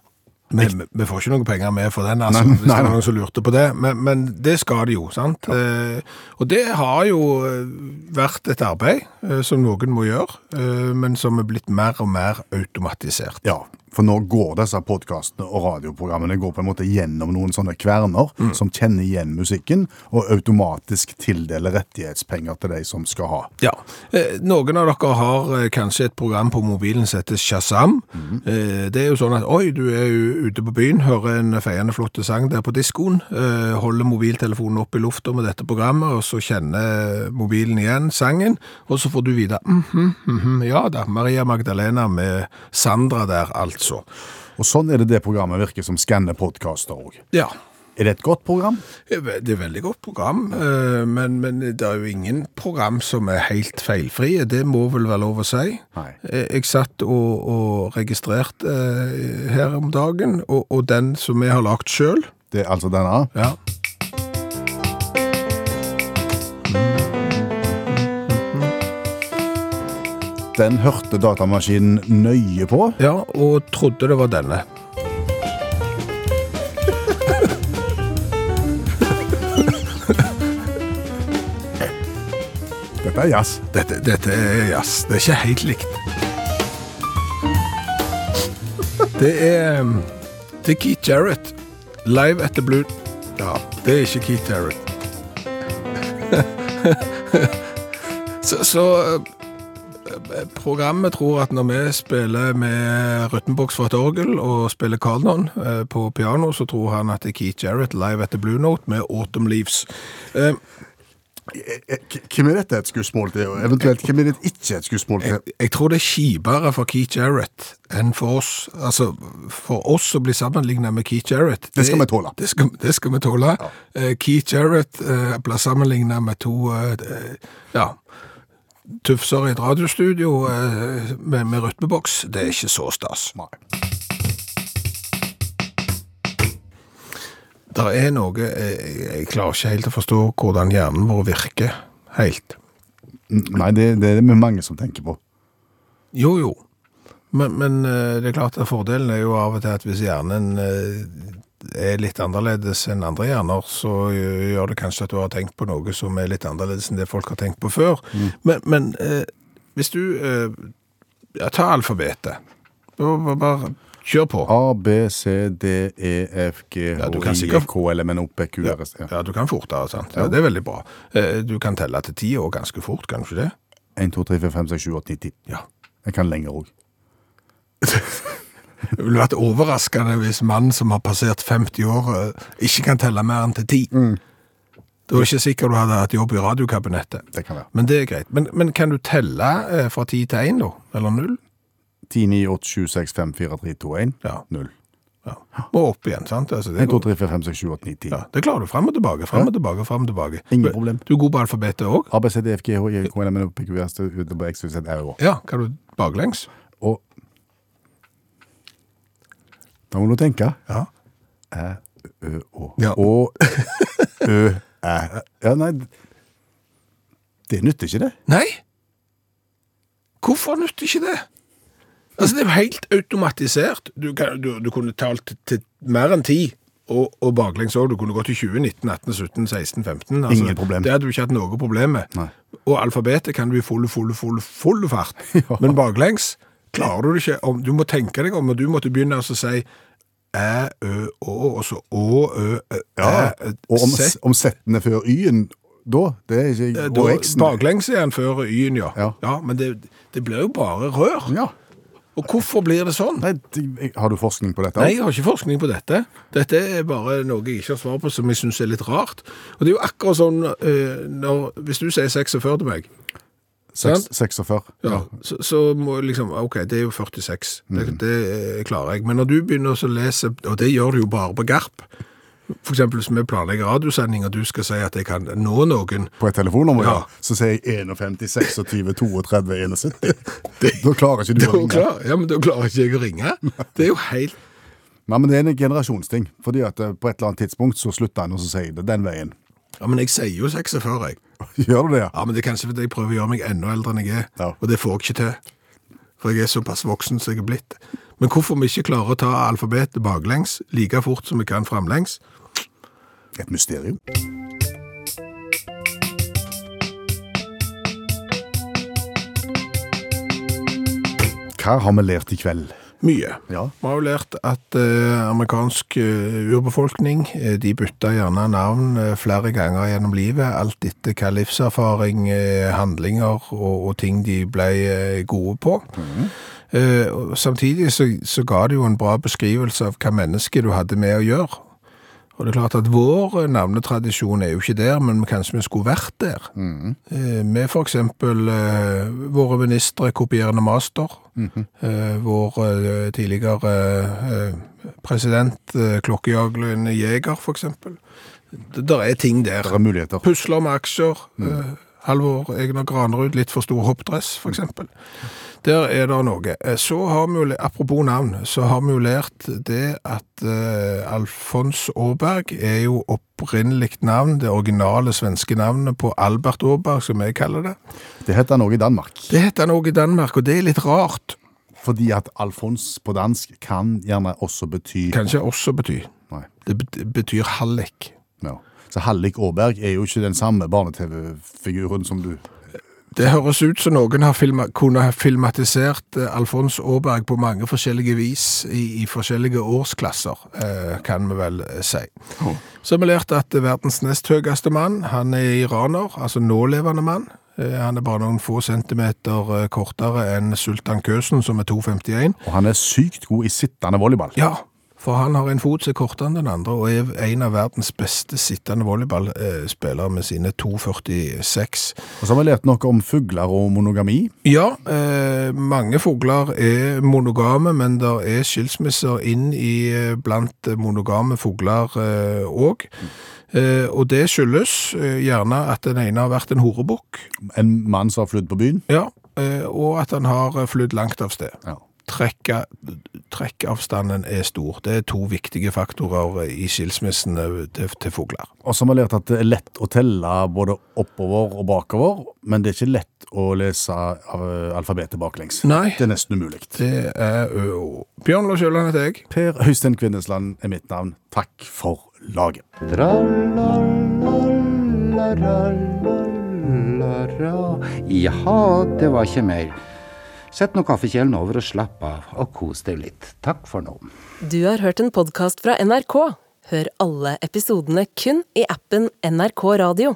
Speaker 2: Vi, vi får ikke noen penger med for den, altså,
Speaker 3: Nei,
Speaker 2: hvis
Speaker 3: nei,
Speaker 2: det var
Speaker 3: nei.
Speaker 2: noen som lurte på det. Men, men det skal det jo, sant? Eh, og det har jo eh, vært et arbeid eh, som noen må gjøre, eh, men som er blitt mer og mer automatisert.
Speaker 3: Ja, for nå går disse podkastene og radioprogrammene går på en måte gjennom noen sånne kverner
Speaker 2: Mm.
Speaker 3: som kjenner igjen musikken, og automatisk tildeler rettighetspenger til de som skal ha.
Speaker 2: Ja. Eh, Noen av dere har eh, kanskje et program på mobilen som heter Shazam. Eh, Det er jo sånn at oi, du er jo ute på byen, hører en feiende flott sang der på diskoen, eh, holder mobiltelefonen opp i lufta med dette programmet, og så kjenner mobilen igjen sangen, og så får du vite mhm, mhm, ja da, Maria Magdalena med Sandra der, altså.
Speaker 3: Og sånn er det det programmet virker som skanner podkaster òg.
Speaker 2: Ja.
Speaker 3: Er det et godt program?
Speaker 2: Det er ve- det er et veldig godt program, eh, men, men det er jo ingen program som er helt feilfrie. Det må vel være lov å si.
Speaker 3: Nei.
Speaker 2: Eh, Jeg satt og, og registrerte eh, her om dagen, og, og den som vi har lagt sjøl.
Speaker 3: Det er altså denne.
Speaker 2: Ja.
Speaker 3: Den hørte datamaskinen nøye på.
Speaker 2: ja, og trodde det var denne.
Speaker 3: Dette er jazz.
Speaker 2: Dette, dette er jazz. Det er ikke helt likt. Det er um, Det er Keith Jarrett. Live at the Blue Ja, det er ikke Keith Jarrett. [laughs] så så eh, Programmet tror at når vi spiller med rytmeboks fra et orgel og spiller Carlton eh, på piano, så tror han at det er Keith Jarrett live at the Blue Note med Autumn Leaves. Eh,
Speaker 3: Eh, Hvem er dette et skussmål til, og eventuelt hvem er det ikke et skussmål til?
Speaker 2: Jeg tror det er kjipere for Keith Jarrett enn for oss. Altså, for oss å bli sammenlignet med Keith Jarrett
Speaker 3: Det skal vi tåle.
Speaker 2: Det skal, det skal vi tåle. Eh, Keith Jarrett eh, ble sammenlignet med to eh, eh, ja, tufser i et radiostudio eh, med, med rytmeboks. Det er ikke så stas. Det er noe jeg, jeg klarer ikke helt å forstå hvordan hjernen vår virker helt.
Speaker 3: Nei, det, det er det mange som tenker på.
Speaker 2: Jo, jo. Men, men eh, det er klart at fordelen er jo av og til at hvis hjernen eh, er litt annerledes enn andre hjerner, så eh, gjør det kanskje at du har tenkt på noe som er litt annerledes enn det folk har tenkt på før. Men, men eh, hvis du eh, ja, Ta alfabetet. Bare- Bare, bare kjør på.
Speaker 3: A, B, C, D, E, F, G,
Speaker 2: Ja,
Speaker 3: H,
Speaker 2: du kan
Speaker 3: I,
Speaker 2: sikkert-
Speaker 3: K, L, M, N, O, P, Q, R, S, E.
Speaker 2: Ja, du kan fortere, sant? Ja, det er veldig bra. Eh, Du kan telle til ti år ganske fort, kan du ikke det?
Speaker 3: 1, 2, 3, 4, 5, 6, 7, 8, 9, 10.
Speaker 2: Ja.
Speaker 3: Jeg kan lenger òg.
Speaker 2: Det ville vært overraskende hvis mannen som har passert 50 år, eh, ikke kan telle mer enn til 10.
Speaker 3: Mm.
Speaker 2: Da er det ikke sikkert du hadde hatt jobb i radiokabinettet.
Speaker 3: Det kan være.
Speaker 2: Men det er greit. Men, men kan du telle eh, fra 10 til 1, da? Eller 0?
Speaker 3: 10, 9, 8, 7, 6, 5, 4, 3, 2, 1.
Speaker 2: Ja.
Speaker 3: 0.
Speaker 2: Ja. Og opp igjen, sant? Altså,
Speaker 3: 1,
Speaker 2: det,
Speaker 3: 2,
Speaker 2: går,
Speaker 3: 3, 4, 5, 6, 7, 8, 9, 10.
Speaker 2: ja, det klarer du. Fram og tilbake, fram og tilbake, fram og tilbake.
Speaker 3: Ingen problem.
Speaker 2: Du er god på alfabetet òg?
Speaker 3: A, B, C, D, E, F, G, H, I, K, L, M, N, O, P, Q, R, S, E, U, W, X, Y, Z, R, O.
Speaker 2: Ja, kan du baklengs?
Speaker 3: Og Da må du tenke.
Speaker 2: Ja.
Speaker 3: Ø, Å.
Speaker 2: Ja.
Speaker 3: Å, Ø, Æ. Ja, nei Det nytter ikke, det.
Speaker 2: Nei. Hvorfor nytter ikke det? Altså, det er jo helt automatisert. Du, kan, du, du kunne talt til mer enn ti, og, og baklengs òg. Du kunne gått til 20, 19, 18, 17, 16, 15. Altså,
Speaker 3: Ingen problem.
Speaker 2: Det hadde du ikke hatt noe problem med.
Speaker 3: Nei.
Speaker 2: Og alfabetet kan du i full, full, full, full
Speaker 3: [laughs]
Speaker 2: fart. Men baklengs klarer du det ikke. Om, du må tenke deg om, og du måtte begynne altså å si æ, ø, å, og så å, ø, ø,
Speaker 3: Ja,
Speaker 2: æ,
Speaker 3: og om,
Speaker 2: sett.
Speaker 3: om setten er før y-en, da? Det er ikke
Speaker 2: Eh,
Speaker 3: og
Speaker 2: Da,
Speaker 3: x-en.
Speaker 2: baklengs er han før y-en, ja.
Speaker 3: Ja.
Speaker 2: Men det, det blir jo bare rør.
Speaker 3: Ja.
Speaker 2: Og hvorfor blir det sånn?
Speaker 3: Nei, det- har du forskning på dette?
Speaker 2: Nei, jeg har ikke forskning på dette. Dette er bare noe jeg ikke har svar på, som jeg syns er litt rart. Og det er jo akkurat sånn eh, når, Hvis du sier 46 til meg,
Speaker 3: Seks- 46.
Speaker 2: ja, så, så må jeg liksom OK, det er jo 46. Det,
Speaker 3: Mm.
Speaker 2: det eh, klarer jeg. Men når du begynner å lese, og det gjør du jo bare på Garp F.eks. hvis vi planlegger radiosending, og du skal si at jeg kan nå
Speaker 3: [laughs]
Speaker 2: noen
Speaker 3: På et telefonnummer, ja.
Speaker 2: Ja.
Speaker 3: Så sier jeg 51, 26, 32, 71. Da klarer ikke du
Speaker 2: da
Speaker 3: å ringe.
Speaker 2: klarer, ja, men da klarer ikke jeg å ringe.
Speaker 3: [laughs]
Speaker 2: Det er jo helt
Speaker 3: Nei, men det er en generasjonsting. Fordi at eh, på et eller annet tidspunkt så slutter en å si det den veien. [laughs]
Speaker 2: Ja, men jeg sier jo 46, jeg.
Speaker 3: Gjør du det?
Speaker 2: Ja, men det er kanskje fordi jeg prøver å gjøre meg enda eldre enn jeg er,
Speaker 3: Ja.
Speaker 2: og det får jeg ikke til. For jeg er såpass voksen som jeg er blitt. Men hvorfor vi ikke klarer å ta alfabetet baklengs like fort som vi kan framlengs?
Speaker 3: Et mysterium. Hva har vi lært i kveld?
Speaker 2: Mye.
Speaker 3: Ja.
Speaker 2: Vi har jo lært at eh, amerikansk eh, urbefolkning eh, de bytta gjerne navn eh, flere ganger gjennom livet, alt etter hva livserfaring, eh, handlinger og, og ting de ble eh, gode på. Eh, og samtidig så, så ga det jo en bra beskrivelse av hva menneske du hadde med å gjøre. Og det er klart at vår eh, navnetradisjon er jo ikke der, men kanskje vi skulle vært der. Eh, Med for eksempel eh, våre ministre kopierende master, eh, vår eh, tidligere eh, president eh, klokkejaglende jeger for eksempel. Det der er ting der.
Speaker 3: Det er muligheter.
Speaker 2: Pusler med aksjer. eh, Halvor Egner Granerud, litt for stor hoppdress, for eksempel. Der er det noe. Eh, Så har vi jo, læ- apropos navn, så har vi jo lært det at eh, Alfons Åberg er jo opprinnelig navn, det originale svenske navnet på Albert Åberg, som jeg kaller det.
Speaker 3: Det heter noe i Danmark.
Speaker 2: Det heter noe i Danmark, og det er litt rart.
Speaker 3: Fordi at Alfons på dansk kan gjerne også bety
Speaker 2: Kanskje også bety.
Speaker 3: Nei.
Speaker 2: Det bet- betyr hallik.
Speaker 3: Ja. Så Hallik Aaberg er jo ikke den samme barne-TV-figuren som du
Speaker 2: Det høres ut som noen har filma, kunne ha filmatisert eh, Alfons Aaberg på mange forskjellige vis i, i forskjellige årsklasser, eh, kan vi vel eh, si. Så har vi lært at verdens nest høyeste mann, han er iraner, altså nålevende mann. Eh, han er bare noen få centimeter eh, kortere enn Sultan Køsen, som er 2,51.
Speaker 3: Og han er sykt god i sittende volleyball.
Speaker 2: Ja, for han har en fot som er kortere enn den andre, og er en av verdens beste sittende volleyballspillere eh, med sine 2,46.
Speaker 3: Og så har vi lært noe om fugler og monogami.
Speaker 2: Ja, eh, mange fugler er monogame, men det er skilsmisser inn i eh, blant monogame fugler òg. Eh, og det skyldes eh, gjerne at den ene har vært en horebukk,
Speaker 3: En mann som har flydd på byen.
Speaker 2: ja, eh, og at han har eh, flydd langt av sted.
Speaker 3: Ja.
Speaker 2: Trekka- Trekkavstanden er stor. Det er to viktige faktorer eh, i skilsmissene til, til fugler.
Speaker 3: Og så har vi lært at det er lett å telle både oppover og bakover, men det er ikke lett å lese eh, alfabetet baklengs.
Speaker 2: Nei.
Speaker 3: Det er nesten umulig.
Speaker 2: Det er ø og Å. Bjørn Lars Jøland heter jeg.
Speaker 3: Per Øystein Kvindesland er mitt navn. Takk for laget.
Speaker 7: Tra-la-la-la-la-la. Jaha, det var ikke mer. Sett nå kaffekjelen over og slapp av, og kos deg litt. Takk for nå.
Speaker 11: Du har hørt en podkast fra NRK. Hør alle episodene kun i appen NRK Radio.